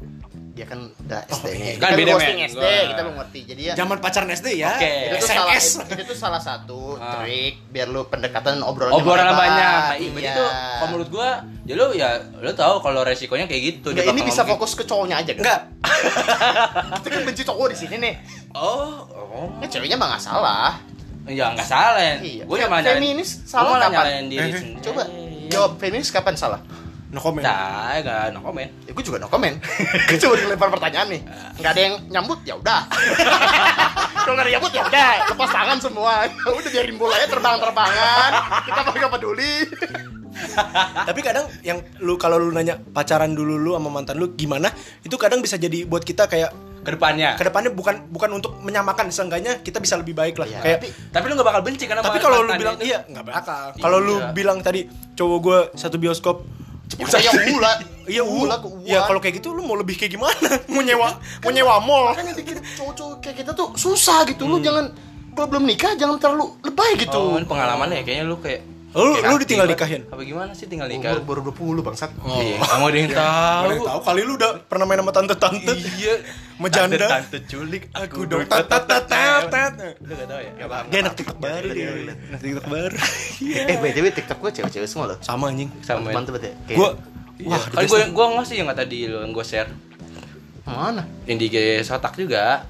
S3: dia kan udah SD nih.
S1: Kan
S3: Kita
S1: beda,
S3: posting
S1: men.
S3: SD,
S1: Wah.
S3: kita belum ngerti. Jadi ya
S2: Zaman pacaran SD ya.
S1: Oke.
S3: itu tuh salah
S2: SMS.
S3: itu tuh salah satu
S1: Ah.
S3: trik biar lu pendekatan obrolan
S1: obrolan banyak. Nah, iya. itu kalau menurut gua, ya lu ya lu tahu kalau resikonya kayak gitu. dia
S3: Nggak, Nah, ini
S1: bakal
S3: bisa
S1: ngomong
S3: fokus ke cowoknya aja kan?
S2: Enggak.
S3: Kita kan benci cowok di sini nih.
S1: kayak, Oh, oh.
S3: Nah, ceweknya mah nggak salah.
S1: Ya nggak salah ya.
S3: Iya.
S1: Gua cuma nyalain.
S3: Feminis
S1: gua
S3: salah
S1: malah
S3: kapan?
S1: nyalain diri
S2: Eh,
S1: sendiri.
S3: Coba jawab feminis kapan salah?
S2: No comment.
S1: Nah, enggak no comment.
S3: Ya, gue juga no comment. gue cuma dilempar pertanyaan nih. Nggak ada yang nyambut, ya udah. Kalau nggak ada yang nyambut, ya udah. Lepas tangan semua. udah biarin bolanya terbang-terbangan. Kita mah nggak peduli.
S2: Tapi kadang yang lu kalau lu nanya pacaran dulu lu sama mantan lu gimana, itu kadang bisa jadi buat kita kayak
S1: Nah. Kedepannya.
S2: kedepannya bukan bukan untuk menyamakan seenggaknya kita bisa lebih baik lah
S3: Iya,
S2: kayak
S3: tapi-
S1: Tapi lu gak bakal benci karena
S2: tapi
S1: mantan
S2: kalau lu
S1: itu.
S2: bilang iya nggak bakal kalau lu
S1: Iya.
S2: bilang tadi cowok gue satu bioskop
S3: Bisa ya ula.
S2: iya u
S3: ula ke ula.
S2: ya kalau kayak gitu lu mau lebih kayak gimana mau nyewa mau nyewa mall
S3: kan yang bikin cowok-cowok kayak kita tuh susah gitu. Lu jangan kalau belum nikah jangan terlalu lebay gitu.
S1: Oh, ini pengalamannya ya kayaknya lu kayak
S2: Lu-
S1: kayak
S2: lu
S1: aktif
S2: ditinggal
S1: banget.
S2: nikahin? Oh,
S1: Apa gimana sih tinggal nikah?
S3: Umur baru 20 bangsat.
S1: Iya, kamu ada yang tahu.
S2: Mana tahu kali lu udah pernah main sama tante-tante
S1: Iya,
S2: Mejanda.
S1: Tante, tante culik
S2: aku
S1: aku
S2: dong tat tat tat tat tat.
S1: Lu gak tahu ya? Gak apa-apa.
S2: dia anak tiktok baru dia anak tiktok baru
S3: Eh, by the way TikTok gue cewek-cewek semua loh.
S2: sama anjing
S1: Sama.
S2: Iya.
S3: Mantep banget ya. Kayak-
S2: gue
S1: Wah,
S2: wah
S1: kan gue gue ngasih yang tadi lo yang gue share
S3: mana?
S1: yang di IG Sotak juga.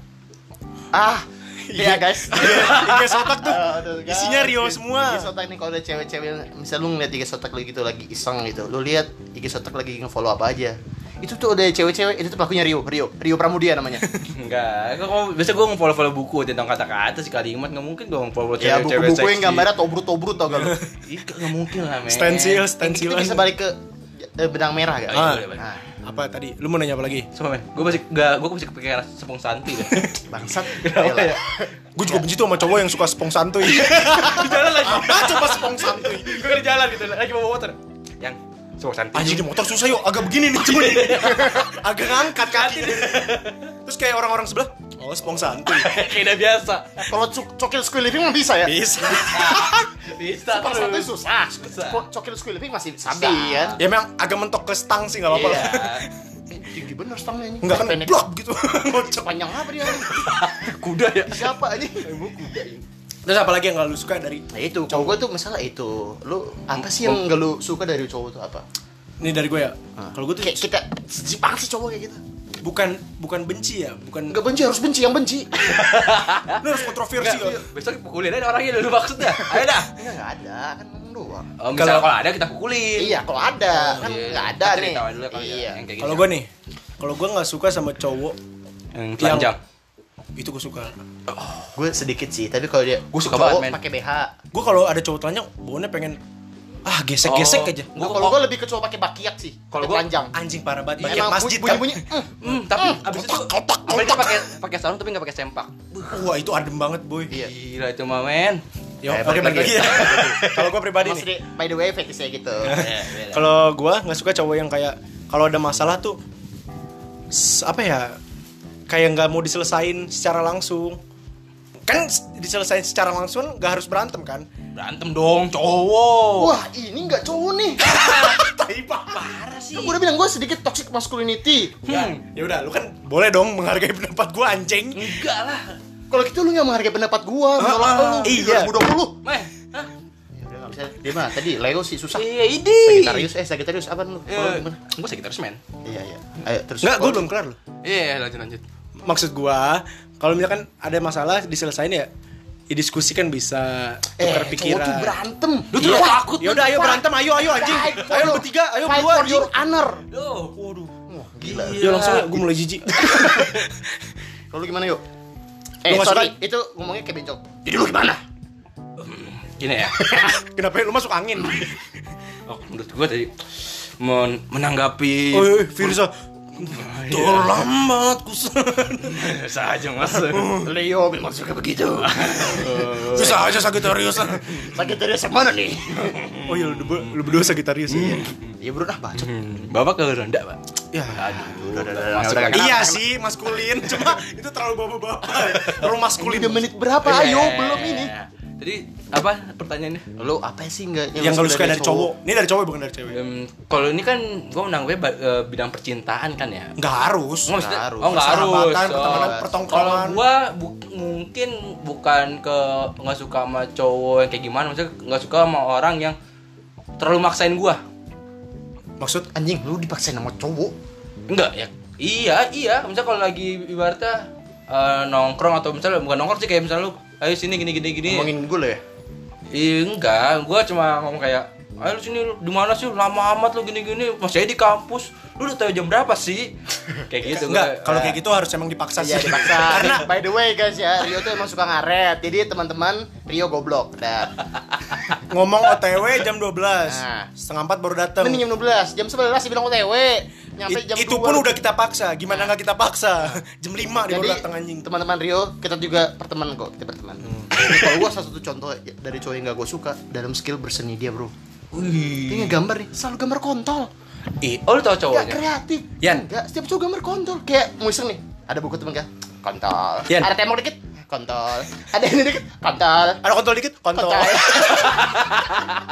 S3: Ah, iya guys.
S2: kayak sotak iya, tuh
S3: Ah, aduh, guys.
S2: isinya Rio semua
S3: IG sotak nih kalau ada cewek-cewek yang- misal lu ngeliat IG sotak lu gitu lagi iseng gitu lu lihat IG sotak lagi nge-follow apa aja itu tuh ada cewek-cewek itu tuh pelakunya Rio Rio Rio Pramudia namanya
S1: Enggak, kok kok- biasa gue nge-follow-follow buku tentang kata-kata sih kalimat nggak mungkin gue
S2: Iya,
S1: nge-follow
S3: ya
S1: cewek-cewek seksi.
S3: buku-buku yang gambarnya tobrut-tobrut tau gak lu
S1: Ih, nggak mungkin lah, men.
S2: stensil
S3: itu
S2: stensilan
S3: bisa balik ke eh, benang merah gak?
S2: Ah.
S3: Nah,
S2: apa tadi lu mau nanya apa lagi
S1: iya, Sumpah, men, gue masih gak, gue masih kepikiran Sepung Santi deh.
S3: bangsat
S1: Kenapa
S3: Ayolah.
S1: ya?
S2: gue juga benci tuh sama cowok yang suka spong santuy
S1: Di jalan lagi.
S2: apa coba spong santuy
S1: Gue di jalan gitu, lagi bawa motor. Yang Sepung Santi.
S2: anjing di motor susah yuk agak begini nih cuy agak ngangkat kaki terus kayak orang-orang sebelah oh spong santuy
S1: Kayak udah biasa.
S3: kalau cok- cokil squid living mah bisa ya
S2: bisa
S1: Bisa
S3: Pas satu
S1: terus.
S3: susah
S1: Susah.
S3: Cok- cokil squid living masih sabi kan
S2: ya memang agak mentok ke stang sih nggak apa-apa
S1: Iya.
S2: lah
S3: tinggi bener stangnya ini
S2: nggak kan
S3: Pendek.
S2: blok gitu ngocok
S3: panjang apa dia
S1: Kuda ya.
S3: siapa ini
S2: terus apalagi yang nggak lu suka dari
S3: Nah itu, cowok gue tuh masalah itu. Lu apa sih yang gak lu suka dari cowok tuh apa?
S2: ini dari gue ya
S1: Ah.
S3: Ah,
S2: kalau gue tuh
S1: gitu.
S3: Kayak kita jijik banget sih cowok kayak gitu.
S2: bukan bukan benci ya bukan
S3: Gak benci harus benci yang benci.
S2: lu harus kontroversi ya
S1: Nggak, Besok pukulin aja orangnya dulu maksudnya. Ayo dah.
S3: Enggak nggak ada, kan ngomong doang.
S1: Oh, misalnya
S2: Kalau-
S1: kalau ada kita pukulin.
S3: Iya, kalau ada kan
S1: Iya.
S3: nggak ada
S1: Kita
S3: nih.
S1: ceritain dulu kalau
S3: Iya.
S1: yang kayak gitu.
S2: kalau gue nih kalau gue nggak suka sama cowok
S1: yang telanjang.
S2: itu gue suka
S3: Gue sedikit sih, tapi kalau dia
S1: Gua suka
S3: cowok
S1: banget, men.
S3: pakai BH.
S2: gue kalau ada cowok telanjang baunya pengen ah gesek gesek
S1: Oh.
S2: aja
S1: Gua-
S3: Nah, kalau gue lebih ke cowok pakai bakiak sih.
S1: Kalau
S3: Kalau
S1: gua-
S3: panjang.
S2: anjing parah banget
S3: Iya,
S2: pakai
S3: emang
S2: masjid
S3: bunyi
S2: kan
S3: bunyi. eh,
S1: Hmm, tapi abis itu
S3: kotak,
S1: abis itu
S3: kotak.
S1: pakai pakai sarung tapi nggak pakai sempak.
S2: wah itu adem banget boy
S3: Iya.
S1: Gila itu mah men.
S2: Yo,
S3: Eh,
S2: oke
S3: balik
S2: balik lagi
S3: lagi.
S2: ya. kalau gue pribadi
S3: Mas
S2: nih
S3: Ri, by the way, fetishnya gitu. Iya, beda.
S2: kalau gue nggak suka cowok yang kayak kalau ada masalah tuh s- apa ya kayak nggak mau diselesain secara langsung kan s- diselesain secara langsung nggak harus berantem kan
S1: Berantem dong cowok.
S3: Wah, ini nggak cowok nih.
S2: tai parah
S3: Kan Gue udah bilang gue sedikit toxic masculinity.
S1: Hmm.
S2: ya udah lu kan boleh dong menghargai pendapat gue anjing
S3: Hmm.
S1: Enggak lah.
S3: Kalau gitu lu nggak menghargai pendapat gua, menolak
S2: ah,
S3: lu di
S2: iya.
S1: Meh.
S3: 2020.
S1: Hah?
S3: Ya udah nggak bisa. Dia mah tadi Leo sih susah.
S1: Iya, ini.
S3: Sagittarius eh Sagittarius apa lu?
S1: Eh,
S3: Kalau gimana?
S1: Gue Sagittarius men.
S3: Iya iya. Ayo terus.
S2: nggak gue belum kelar loh
S1: Iya, lanjut lanjut.
S2: maksud gua kalau misalkan ada masalah diselesain ya, ya diskusi kan bisa
S3: Eh,
S2: tukar
S3: cowok tuh
S2: pikiran
S3: berantem. Iya,
S1: Lu tuh takut.
S2: ya udah ayo berantem ayo ayo anjing
S3: Fight for
S2: ayo lu
S3: your-
S2: bertiga ayo
S3: fight
S2: berdua
S3: for
S2: anjing
S3: your honor.
S1: Duh, waduh.
S3: Wah, gila.
S1: Iya.
S2: ya langsung gue mulai jijik
S3: Kalau lu gimana yuk? Eh,
S2: Lu nggak
S3: sorry, itu ngomongnya kayak bencong. Jadi lu gimana?
S1: Gini ya.
S2: kenapa ya? lu masuk angin
S1: Oh, menurut gue tadi men- menanggapi
S2: oh Firza terlambat kus
S3: iya.
S1: saja mas.
S2: Hmm.
S3: Leo memang suka begitu.
S2: susah aja Sagitarius
S3: Sagittarius yang mana nih?
S2: oh iya lu, berdua- lu berdua Sagitarius ya
S3: Ya bro, ah bacot.
S1: Hmm, Bapak ke Ronda, Pak.
S2: Ya.
S1: Aduh,
S3: udah, udah,
S1: masuk
S3: udah,
S1: lagi.
S3: udah.
S2: iya sih maskulin cuma itu terlalu bapak-bapak terlalu
S3: Ini
S2: maskulin
S3: Eh. udah menit berapa? Ayo, belum ini.
S1: Itu Jadi Eh, ya. apa pertanyaannya?
S3: Lu apa sih enggak
S2: yang kalau suka dari cowok ini dari cowok bukan dari cewek
S1: Em, kalau ini kan gue menanggapnya ba- eh, bidang percintaan kan ya.
S2: nggak harus
S1: Nggak maksudnya-
S3: Nggak harus.
S1: Oh nggak harus.
S2: Persahabatan,
S1: Oh.
S2: pertemanan,
S1: Kalau
S2: pertongkrongan.
S1: gue mungkin bukan ke nggak suka sama cowok yang kayak gimana, maksudnya nggak suka sama orang yang terlalu maksain gue.
S2: maksud
S3: Anjing, lu dipaksain sama cowok.
S1: Enggak ya. Iya iya. Misalnya kalau lagi ibaratnya eh, nongkrong atau misalnya bukan nongkrong sih kayak misalnya lu ayo sini gini gini gini.
S3: Ngomongin gue lo ya.
S1: Iya enggak, gua cuma ngomong kayak Ayo lu sini lu di mana sih lu lama amat lu gini-gini masih aja di kampus. Lu udah tahu jam berapa sih? Kayak gitu gua,
S2: enggak kalau
S1: eh,
S2: kayak gitu harus emang dipaksa
S3: Iya
S2: sih
S3: dipaksa.
S2: karena
S3: by the way guys ya, Rio tuh emang suka ngaret. Jadi teman-teman Rio goblok. Dah.
S2: ngomong OTW jam 12
S3: Nah.
S2: setengah empat baru datang
S3: Ini jam 12, jam 11 dia bilang OTW. Nyampe
S2: It-
S3: jam
S2: itu
S3: 2.
S2: pun udah kita paksa gimana nggak kita paksa jam 5 dia baru
S3: Jadi
S2: datang anjing Hmm.
S3: teman-teman Rio, kita juga pertemanan kok, kita berteman. Jadi Kalau gua salah satu contoh dari cowok yang gak gue suka dalam skill berseni dia, Bro. Dia ngegambar nih, selalu gambar kontol.
S2: Eh,
S1: Ih, oh lu tahu
S3: Gak
S2: iya.
S1: cowoknya?
S3: kreatif.
S1: Yan.
S3: Gak, setiap cowok gambar kontol. Kayak mau iseng nih, ada buku temen gak? Kontol.
S1: Yan.
S3: Ada tembok dikit, kontol. Ada ini dikit, kontol.
S2: ada kontol dikit kontol
S3: Kontol.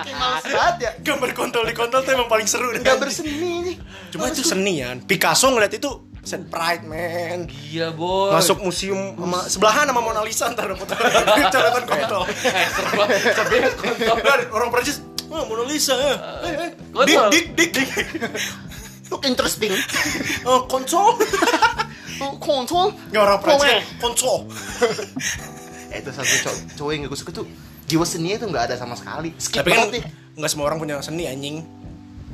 S3: Kayak males banget ya.
S2: gambar kontol di kontol tuh emang paling seru deh,
S3: Gak
S2: anjing.
S3: berseni nih.
S2: cuma itu seni ya Picasso ngeliat itu sen pride man
S1: Iya, boy.
S2: masuk museum sama- sebelahan sama Mona Lisa ntar ada foto coretan kontol
S1: Eh, seru banget. Tapi kontol.
S2: Dan orang Prancis oh, Mona Lisa eh, eh, eh. dik
S1: kontol.
S2: dik dik dik
S3: Look interesting.
S2: oh, kontol
S3: Oh, Kontol.
S2: nggak orang Prancis
S3: Komen.
S2: kontol
S3: Eh, itu satu cowok, cowok yang gak gue suka tuh jiwa seninya tuh nggak ada sama sekali skip
S2: tapi kan
S3: banget nih
S2: nggak semua orang punya seni anjing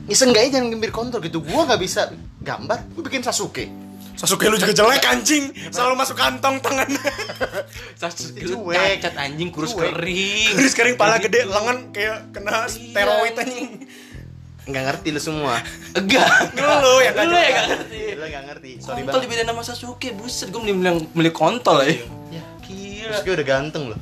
S3: ya seenggaknya jangan gembir kontol gitu gua nggak bisa gambar gue bikin Sasuke
S2: Sasuke lu juga jelek anjing selalu masuk kantong tangannya
S1: Sasuke lu
S3: Cuek.
S1: cacat anjing kurus
S3: Cuek.
S1: kering.
S2: terus kering pala gede lengan kayak kena steroid
S1: Iya.
S2: anjing
S3: nggak ngerti lu semua
S1: Enggak. ya,
S2: Lu yang nggak
S1: lu yang nggak ngerti.
S3: lu nggak ngerti sorry
S1: kontol
S3: banget
S1: dibedain sama Sasuke, buset gua mending bilang beli kontol ya.
S3: ya
S1: Gila.
S3: Sasuke udah ganteng loh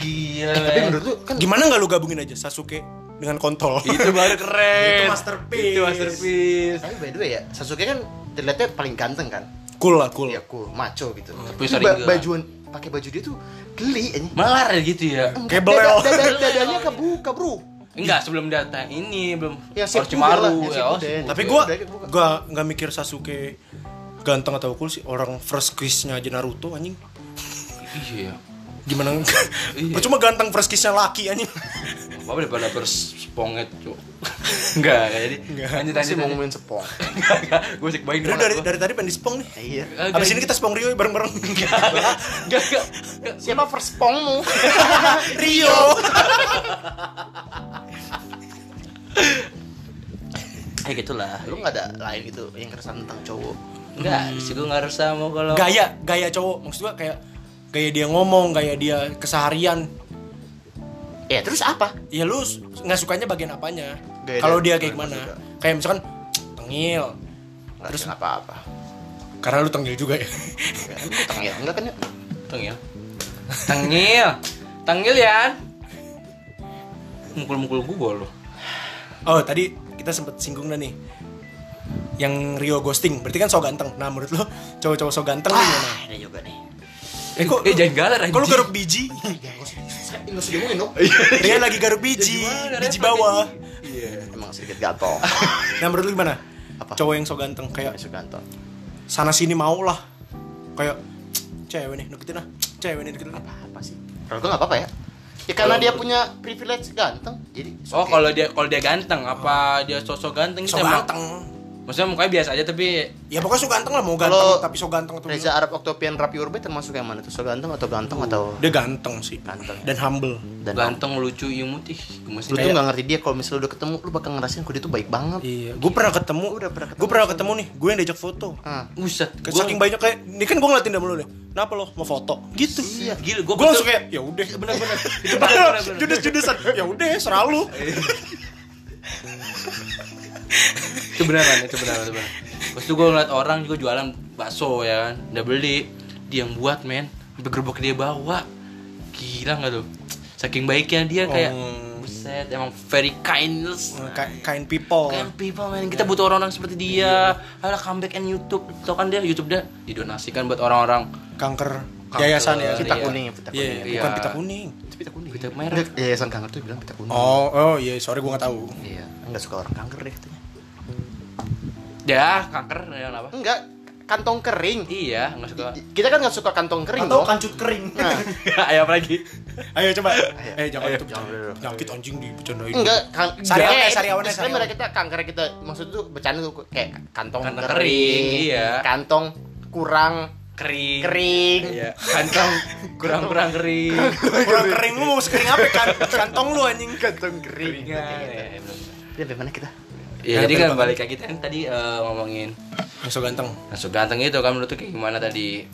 S1: Gila.
S3: eh, tapi menurut lu kan
S2: gimana nggak lu gabungin aja Sasuke dengan kontol
S1: itu baru keren.
S2: Itu masterpiece.
S1: Itu masterpiece.
S3: tapi by the way ya Sasuke kan terlihatnya paling ganteng kan
S2: cool lah cool
S1: Iya.
S3: ya cool maco gitu
S1: tapi
S3: tapi
S1: sorry
S3: ba-
S1: nggak.
S3: bajuan pakai baju dia tuh geli anjing
S1: Melar ya gitu ya.
S2: Kayak
S3: Dada-
S2: belel.
S3: dada- dadanya kebuka bro
S1: Enggak, sebelum data ini belum
S3: Ya, sip juga lah,
S1: Orochimaru
S3: ya,
S1: ya.
S3: sip
S1: oh,
S3: udah.
S1: sip.
S2: Tapi
S3: Oke,
S2: gua
S3: udah, gua-
S2: gua nggak mikir Sasuke ganteng atau cool sih orang first kiss-nya aja Naruto anjing.
S1: Iya.
S2: Gimana?
S1: Iya.
S2: Percuma ganteng first kiss-nya laki anjing.
S1: Apa daripada bersponget, Cuk. Enggak, enggak jadi. Lanjut
S3: masih
S1: lanjut.
S3: mau
S1: lanjut.
S3: ngomongin sepong
S1: Enggak, gue sik baik
S2: Dari dari, dari tadi pengen di spong nih.
S3: iya
S1: Oke.
S2: Abis ini kita spong Rio bareng-bareng.
S1: enggak enggak. enggak.
S3: siapa first pongmu
S2: Rio.
S1: Ya gitulah.
S3: lu nggak ada lain gitu yang keresahan tentang cowok
S1: Enggak,
S3: Hmm.
S1: sih gue enggak resah mau kalau
S2: Gaya gaya cowok maksud gua kayak gaya dia ngomong, gaya dia keseharian.
S3: ya terus apa
S2: Ya lu s- nggak sukanya bagian apanya?
S3: Gaya
S2: Kalau
S3: dia-
S2: dia kayak
S3: gua
S2: gimana?
S3: suka.
S2: Kayak misalkan tengil.
S3: nggak
S2: Terus-
S3: terus apa-apa
S2: Karena lu tengil juga ya.
S3: Ya, kan gua tengil enggak kan ya
S1: tengil. Tengil. Tengil ya. Mukul-mukul gua loh.
S2: Oh tadi kita sempet singgung dah nih yang Rio ghosting berarti kan so ganteng nah menurut lo cowok-cowok so ganteng
S3: Ah,
S2: nih gimana?
S3: ada juga nih
S2: eh kok
S1: eh, jangan galer,
S2: kok lu
S1: anjing.
S2: garuk biji
S3: Ini usah diomongin dong
S2: dia lagi garuk biji biji bawah
S3: Emang sedikit gatel
S2: nah menurut lu gimana
S3: Apa?
S2: cowok yang so ganteng
S3: Emang
S2: kayak
S3: suka gatel
S2: sana sini mau lah kayak "Cek, cewek nih deketin lah Cek, cewek nih deketin lah
S3: Apa-apa sih Kalau gue gak apa-apa ya Ya karena dia punya privilege ganteng Jadi it's
S1: Oh,
S3: okay.
S1: kalau dia kalau dia ganteng apa dia sosok ganteng
S2: so
S1: gitu emang?
S2: ganteng
S1: Maksudnya mukanya biasa aja tapi
S2: ya pokoknya so ganteng lah mau ganteng
S3: Kalau
S2: tapi so ganteng atau
S3: Reza Arab Octopian Rapi Urbe termasuk yang mana tuh? So ganteng atau ganteng atau
S2: dia ganteng sih
S3: Ganteng.
S2: dan humble
S3: dan
S1: ganteng lucu imut ih gemes
S3: Lu tuh
S1: kayak-
S3: gak ngerti dia kalau misalnya udah ketemu Lu bakal ngerasain kok dia tuh baik banget
S2: iya gue pernah ketemu
S3: Udah pernah ketemu.
S2: gue pernah ketemu nih gue yang diajak foto
S3: Ah.
S1: Buset,
S2: Kayak
S1: gua-
S2: saking banyak kayak ini kan gue ngeliatin dam lu nih. Kenapa lo mau foto? Gitu.
S1: Iya, gila,
S2: Gue
S1: gua
S2: langsung
S1: betul-
S2: kayak ya udah.
S1: bener-bener. Itu
S2: Padahal
S1: bener-bener.
S2: Judes-judesan. Ya udah, serah lu.
S1: itu beneran, itu beneran, itu beneran. Terus tuh gue ngeliat orang juga jualan bakso ya kan, udah beli, dia yang buat men, sampai gerobak dia bawa, gila nggak tuh? Saking baiknya dia kayak,
S2: Oh.
S1: buset, emang very kindness.
S2: Ka- Kind people.
S1: Kind people men, kita butuh orang-orang seperti Iya. dia. Ayolah comeback and YouTube, tau kan dia YouTube dia didonasikan buat orang-orang
S2: Kanker Yayasan,
S1: ya
S2: yayasan.
S3: Pita kuning, pita
S2: Iya,
S3: kuning.
S1: Iya.
S2: bukan pita kuning.
S3: Pita kuning.
S1: Pita merah.
S3: Nggak, Yayasan kanker tuh bilang pita kuning.
S2: Oh, oh iya, sorry gue gak tahu.
S3: Iya, enggak suka orang kanker deh katanya.
S1: Ya, kanker ya, kenapa?
S3: Enggak, kantong kering.
S1: Iya, enggak suka.
S3: I- Kita kan nggak suka kantong kering
S4: Atau
S3: dong.
S4: kancut kering.
S1: Ayo apa lagi?
S2: Nah, Ayo coba. Eh jangan itu
S3: Jangan dulu.
S2: penyakit anjing dibercandain.
S3: Enggak, kan
S2: Sariawan
S3: enggak,
S2: ya, sariawan ya,
S3: disclaimer
S2: sariawan.
S3: kita kanker kan kita maksud tuh bercanda tuh kayak kantong
S1: Kantong
S3: kering,
S1: kering, iya.
S3: Kantong kurang
S1: Kering.
S3: kering.
S1: Iya, kantong kurang-kurang kering.
S2: Kurang kering lu mau sekering apa kan? Kantong lu anjing.
S3: Kantong kering.
S1: Iya,
S3: Iya,
S1: iya, iya.
S3: mana kita?
S1: Ya, jadi kan balik ke kita kan tadi eh, ngomongin
S2: Yang so ganteng.
S1: masuk ganteng itu kan menurut lu kayak gimana tadi?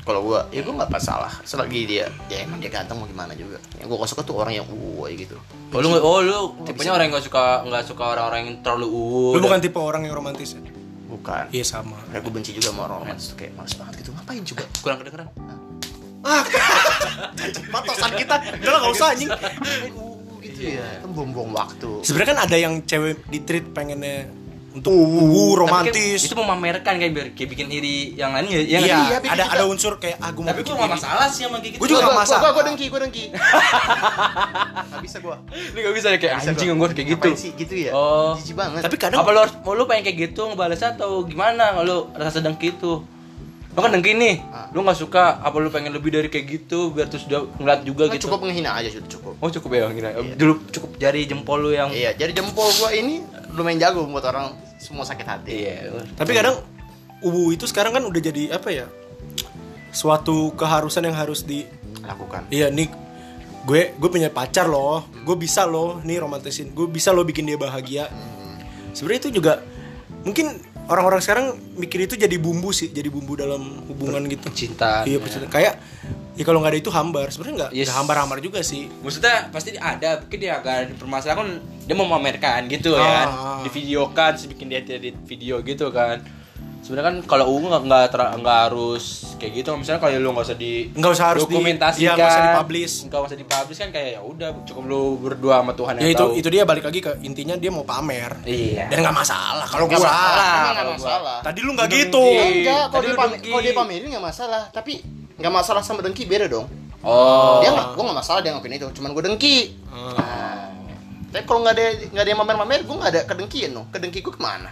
S3: Kalau gua, ya gua nggak masalah. Selagi dia, ya emang dia ganteng mau gimana juga. Yang gua nggak suka tuh orang yang uwoy gitu.
S1: Oh lu, oh, lu tipenya orang yang gak suka nggak suka orang-orang yang terlalu uwu.
S2: Lu bukan tipe orang yang romantis. ya?
S3: Bukan.
S2: Iya sama.
S3: Kayak gue benci juga sama orang romantis tuh kayak males banget gitu. Ngapain coba?
S1: kurang kedengeran.
S2: Patosan kita. Udah lah gak usah anjing.
S3: Uh, gitu
S1: Iya.
S3: ya. Kan buang-buang waktu.
S2: Sebenarnya kan ada yang cewek di treat pengennya untuk uh,
S1: Tapi kan
S2: romantis.
S1: itu memamerkan kayak biar kayak bikin iri yang lain ya. ya nggak sih?
S2: Iya,
S3: bikin
S2: ada
S3: kita-
S2: ada unsur kayak ah gua mau
S1: Tapi
S2: bikin
S1: gua nggak
S2: diri.
S1: masalah sih sama kayak gitu.
S2: Gua juga nggak masalah.
S3: Gua, gua dengki, gua dengki. Gak bisa gua.
S1: Lu gak bisa ya kayak
S3: Bisa
S1: anjing
S3: gua.
S1: ngomong kayak gitu.
S3: Ngapain sih gitu ya?
S1: Oh.
S3: Jijik banget.
S2: Tapi kadang
S1: Apa lu harus mau lu pengen kayak gitu ngebalasnya atau gimana? Lu rasa dengki itu. Lu kan dengki nih.
S3: Ah.
S1: Lu nggak suka apa lu pengen lebih dari kayak gitu biar terus dia ngeliat juga
S3: Nggak
S1: gitu.
S3: Kan cukup menghina aja sudah cukup.
S1: Oh cukup ya kira.
S2: Iya.
S1: Dulu cukup jari jempol lu yang
S3: Iya, jadi jempol gua ini lumayan jago buat orang semua sakit hati.
S1: Iya.
S2: Tapi kadang ubu itu sekarang kan udah jadi apa ya? Suatu keharusan yang harus di
S3: Lakukan.
S2: Iya nih gue gue punya pacar loh, gue bisa loh nih romantisin, gue bisa loh bikin dia bahagia. Sebenarnya itu juga mungkin orang-orang sekarang mikir itu jadi bumbu sih, jadi bumbu dalam hubungan gitu.
S1: cinta.
S2: Iya percintaan. Kayak ya kalau nggak ada itu hambar, sebenarnya nggak
S1: Yes.
S2: nggak hambar-hambar juga sih.
S1: maksudnya pasti ada mungkin dia agak dipermasalahkan kan dia mau memamerkan gitu
S2: Ah.
S1: ya di videokan bikin dia edit video gitu kan sebenarnya kan kalau ungu nggak nggak ter- nggak harus kayak gitu misalnya kalau lu nggak usah di
S2: Nggak usah harus di-
S1: dokumentasikan
S2: iya, nggak usah dipublish.
S1: nggak usah dipublish kan kayak ya udah cukup lu berdua sama Tuhan yang
S2: Ya itu
S1: tahu
S2: itu dia balik lagi ke intinya dia mau pamer.
S1: iya
S2: Dan nggak masalah kalau
S3: Nggak
S2: gua.
S3: masalah, emang nggak
S1: kalau gua.
S3: masalah.
S2: Tadi lu nggak gitu.
S3: Iya, enggak, kalau
S1: Tadi
S3: dia,
S1: lu
S3: pam-
S1: dengki.
S3: kalau dia pamerin nggak masalah, tapi nggak masalah sama dengki beda dong.
S1: oh
S3: Dia nggak, gua nggak masalah dia ngapain itu, cuman gua dengki. Nah, tapi kalau nggak ada nggak ada yang mamer-mamer, gua nggak ada kedengkian dong. Kedengki gua kemana?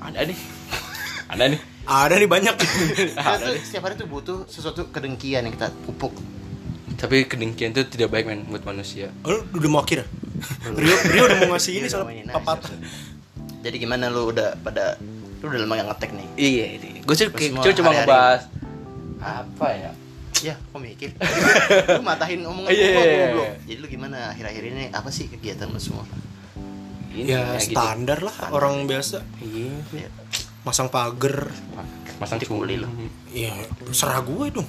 S1: ada nih ada nih
S2: Ada nih banyak.
S1: Nah,
S3: Kita tuh setiap hari tuh butuh sesuatu kedengkian yang kita pupuk.
S1: tapi kedengkian itu tidak baik men buat manusia
S2: Oh, lu udah mau akhir ya? Rio, Rio udah mau ngasih ini
S3: Rio udah mau
S2: soalnya
S3: ini, nice,
S2: pepatah.
S3: Jadi gimana lu udah pada lu udah lama nggak ngetek nih?
S1: iya ini gue sih
S3: Gua
S1: kayak-
S3: semua
S1: cuma- cuma
S3: hari-hari.
S1: ngebahas apa ya
S3: Ya, kok mikir? lu matahin omongan
S1: Iya,
S3: gua,
S1: iya, iya.
S3: goblok. Jadi lu gimana akhir-akhir ini apa sih kegiatan lu semua?
S1: Ini,
S2: Ya
S1: gitu.
S2: standar lah orang biasa
S1: iya
S3: Ya,
S2: masang pager.
S1: masang
S3: Dipuli
S1: culi
S3: lu.
S2: Ya serah gue dong.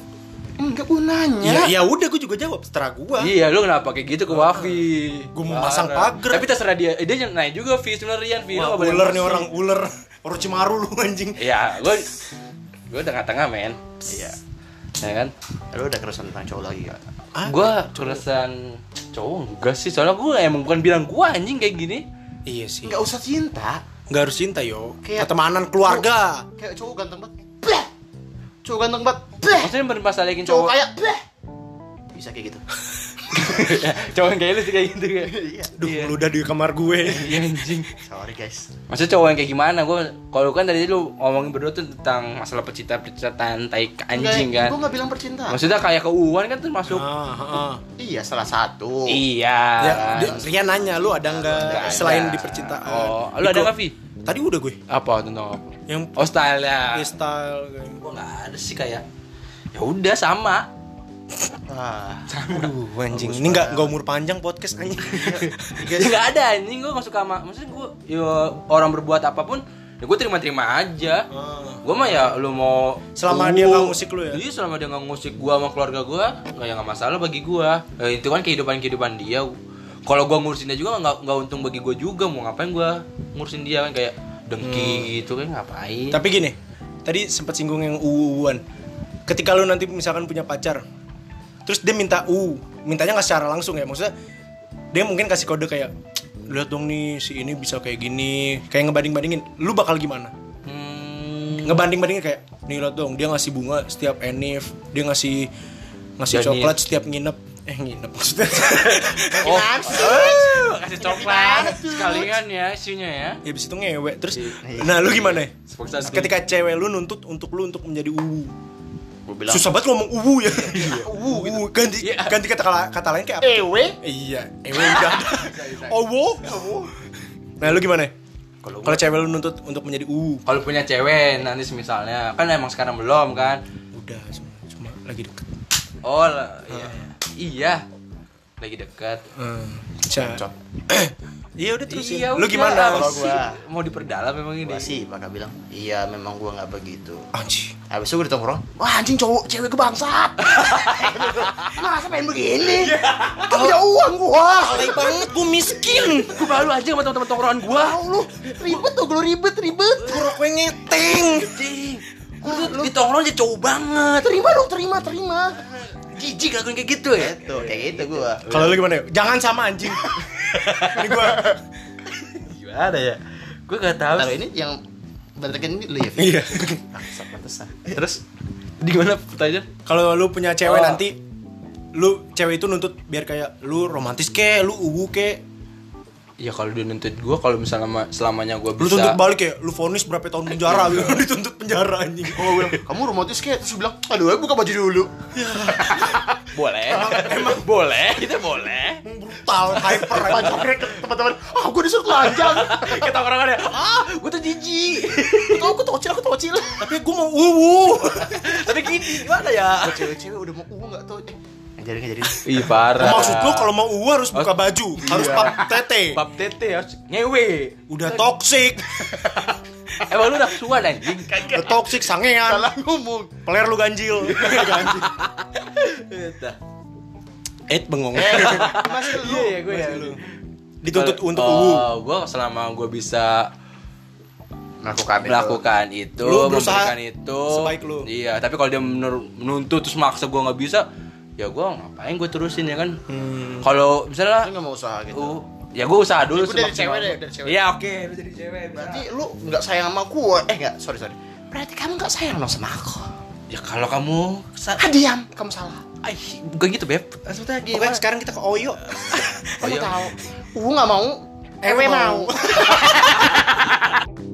S3: Enggak gua nanya.
S2: Ya ya udah gue juga jawab serah gue.
S1: Iya, lu kenapa kayak gitu ke Wafi?
S2: Gua mau
S1: Parah.
S2: masang pagar.
S1: Tapi terserah dia. Eh, dia naik juga Vi sebenarnya Rian Vi. Lu
S2: Wah,
S1: nggak boleh
S2: ular nih
S1: emosi.
S2: orang ular. Orochimaru lu anjing.
S1: Iya, gua gua tengah-tengah, men. Iya. Ya kan?
S3: Lu udah keresan tentang cowok lagi ya?
S2: Ah,
S1: Gua curusan cowok enggak sih, soalnya gua emang bukan bilang gua anjing kayak gini.
S2: Iya sih.
S3: Enggak usah cinta.
S2: Nggak harus cinta yo.
S3: Kayak-
S2: Pertemanan keluarga.
S3: Kayak cowok ganteng banget. Bleh. Cowok ganteng banget. Bleh.
S1: Maksudnya bermasalahin
S3: Cowok
S1: cowok.
S3: kayak bleh. Bisa kayak gitu.
S1: cowok yang kayak lu sih kayak gitu kayak.
S3: Iya.
S2: Duh, lu udah di kamar gue.
S1: Iya anjing.
S3: Sorry guys.
S1: Maksudnya cowok yang kayak gimana? Gua kalau kan tadi lu ngomongin berdua tuh tentang masalah pecinta-pecintaan tai anjing
S3: Enggak,
S1: kan.
S3: Gua enggak bilang percintaan.
S1: Maksudnya kayak keuuan kan termasuk
S2: Ah, ah.
S3: Iya, salah satu.
S1: Iya.
S2: Ya, dia- Rian nanya lu ada
S1: Nggak
S2: nggak
S1: ada.
S2: selain di percintaan.
S1: Oh, lu ada
S2: Diko-
S1: nggak, Vi?
S2: Tadi udah gue.
S1: apa tentang apa?
S2: Yang
S1: Oh style ya.
S2: freestyle gue.
S1: Gua nggak ada sih kayak. Ya udah sama.
S3: Ah.
S2: Aduh anjing, ini nggak nggak umur panjang podcast anjing. Iya. Gitu.
S1: Nggak ada anjing gua nggak suka sama. Maksudnya gua ya, orang berbuat apapun ya gua terima-terima aja. Gua mah ya lu mau
S2: Hmm. Selama
S1: Uh,
S2: dia nggak ngusik lu ya?
S1: Iya, selama dia nggak ngusik gua sama keluarga gua, nggak ya nggak masalah bagi gua. Eh, itu kan kehidupan-kehidupan dia. Kalau gua ngurusin dia juga nggak nggak untung bagi gua juga mau ngapain gua ngurusin dia kan kayak dengki gitu kan ngapain.
S2: Hmm. Tapi gini, tadi sempat singgung yang uuan. Ketika lu nanti misalkan punya pacar, terus dia minta u, mintanya nggak secara langsung ya, maksudnya dia mungkin kasih kode kayak lihat dong nih si ini bisa kayak gini, kayak ngebanding bandingin. Lu bakal gimana?
S1: Hmm,
S2: ngebanding-bandingin kayak nih lihat dong dia ngasih bunga setiap enif dia ngasih ngasih
S1: Dan
S2: coklat setiap nginep eh nginep maksudnya
S1: Oh,
S3: Gimana sih?
S1: kasih coklat sekalian ya isunya ya.
S2: ya abis itu ngewe terus
S1: Iya.
S2: nah lu gimana ya?
S1: Sepaksa sih.
S2: ketika cewek lu nuntut untuk lu untuk menjadi uwu
S3: Gue bilang.
S2: susah banget ngomong uwu ya uwu uwu. ganti
S1: Iya.
S2: ganti kata kata lain kayak apa
S3: Ewe.
S2: iya ewe udah owo nah lu gimana ya?
S3: Kalau
S2: kalau cewek lu nuntut untuk menjadi uwu
S1: Kalau punya cewek nanti misalnya kan emang sekarang belum kan.
S2: udah cuma, cuma lagi deket
S1: Oh lah, iya. iya. Lagi dekat.
S2: Eh, Ca-
S3: Cocok.
S2: iya udah terus
S1: Iya,
S2: lu
S1: udah,
S2: gimana
S1: apa
S3: Kalau
S1: sih?
S3: gua-
S1: mau diperdalam emang ini.
S3: Gue sih bakal bilang, iya memang gue nggak begitu.
S2: Anjir.
S3: Habis itu gue ditongkrong, wah anjing cowok cewek gue bangsat. Masa pengen begini? Kan punya uang gue.
S2: Alay banget gue miskin
S1: Gue malu aja sama teman-teman tongkrongan gua.
S3: Tahu lu ribet tuh, lu ribet ribet.
S2: gue gue ngeteng
S1: Anjing. Gua tuh di tongkrongan aja cowok banget.
S3: Terima dong, terima, terima.
S1: Jijik lakuin kayak gitu ya.
S3: Gitu, kayak gitu gue.
S2: kalau lu gimana yuk? jangan sama anjing ini gue
S1: Gimana ya? Gue gak tahu.
S3: Taruh ini yang berantakin ini lu ya. Fit?
S2: iya
S3: Bangsat, pantesan.
S1: Terus di gimana pertanyaan?
S2: kalau lu punya cewek
S1: Oh.
S2: nanti lu cewek itu nuntut biar kayak lu romantis ke lu uwu ke
S1: Ya kalau dia nuntut gue kalau misalnya ma- selamanya gue
S2: lu
S1: bisa
S2: tuntut balik ya lu vonis berapa tahun penjara gitu lu dituntut penjara anjing
S3: Oh, gue bilang, kamu romantis kayak terus dia bilang, aduh, ayo buka baju dulu.
S1: boleh emang boleh kita boleh
S2: Hmm, brutal hyper
S3: Panjang ke teman-teman, ah gue disuruh telanjang.
S1: kita orang ada ah gue tuh jijik
S3: Tahu aku tocil, aku tocil.
S2: tapi gue mau uwu
S1: tapi gini gimana ya
S3: Buat cewek-cewek udah mau uang nggak tau. Eh, ngajarin ngajarin.
S1: Ih parah
S2: maksud lu kalau mau uwu harus buka baju harus pap tete
S1: Bab tete ya ngewe
S2: udah toxic
S1: emang lu udah suan anjing
S2: udah toxic sangean
S3: Salah ngomong.
S2: peler lu ganjil
S1: Iya,
S2: eh bengong
S3: Masih lu.
S1: iya ya gue ya lu
S2: dituntut untuk uwu
S1: gue Oh, selama gue bisa
S3: Melakukan itu.
S1: melakukan itu,
S2: Lu berusaha
S1: memberikan itu
S2: sebaik lu.
S1: iya tapi kalau dia menur- menuntut terus maksa gue nggak bisa ya gue ngapain gue terusin ya kan
S2: Hmm.
S1: kalau
S3: Lu
S1: misalnya
S3: nggak mau usaha gitu.
S1: uh, ya gue usaha dulu
S3: Ibu dari
S1: semaksimal
S3: cewek deh,
S1: gua.
S3: dari cewek.
S1: iya oke lu jadi cewek
S3: Berarti
S1: Berarti-
S3: lu nggak sayang sama gue. Eh nggak, sorry sorry. Berarti kamu nggak sayang dong sama aku.
S1: ya kalau kamu sa-
S3: Ah diam, kamu salah.
S1: Ay, bukan gitu beb maksudnya
S2: Oke, sekarang kita ke Oyo.
S1: Oh,
S3: Kamu
S1: iya.
S3: tahu. Uwu nggak mau. Ewe
S2: mau.
S3: mau.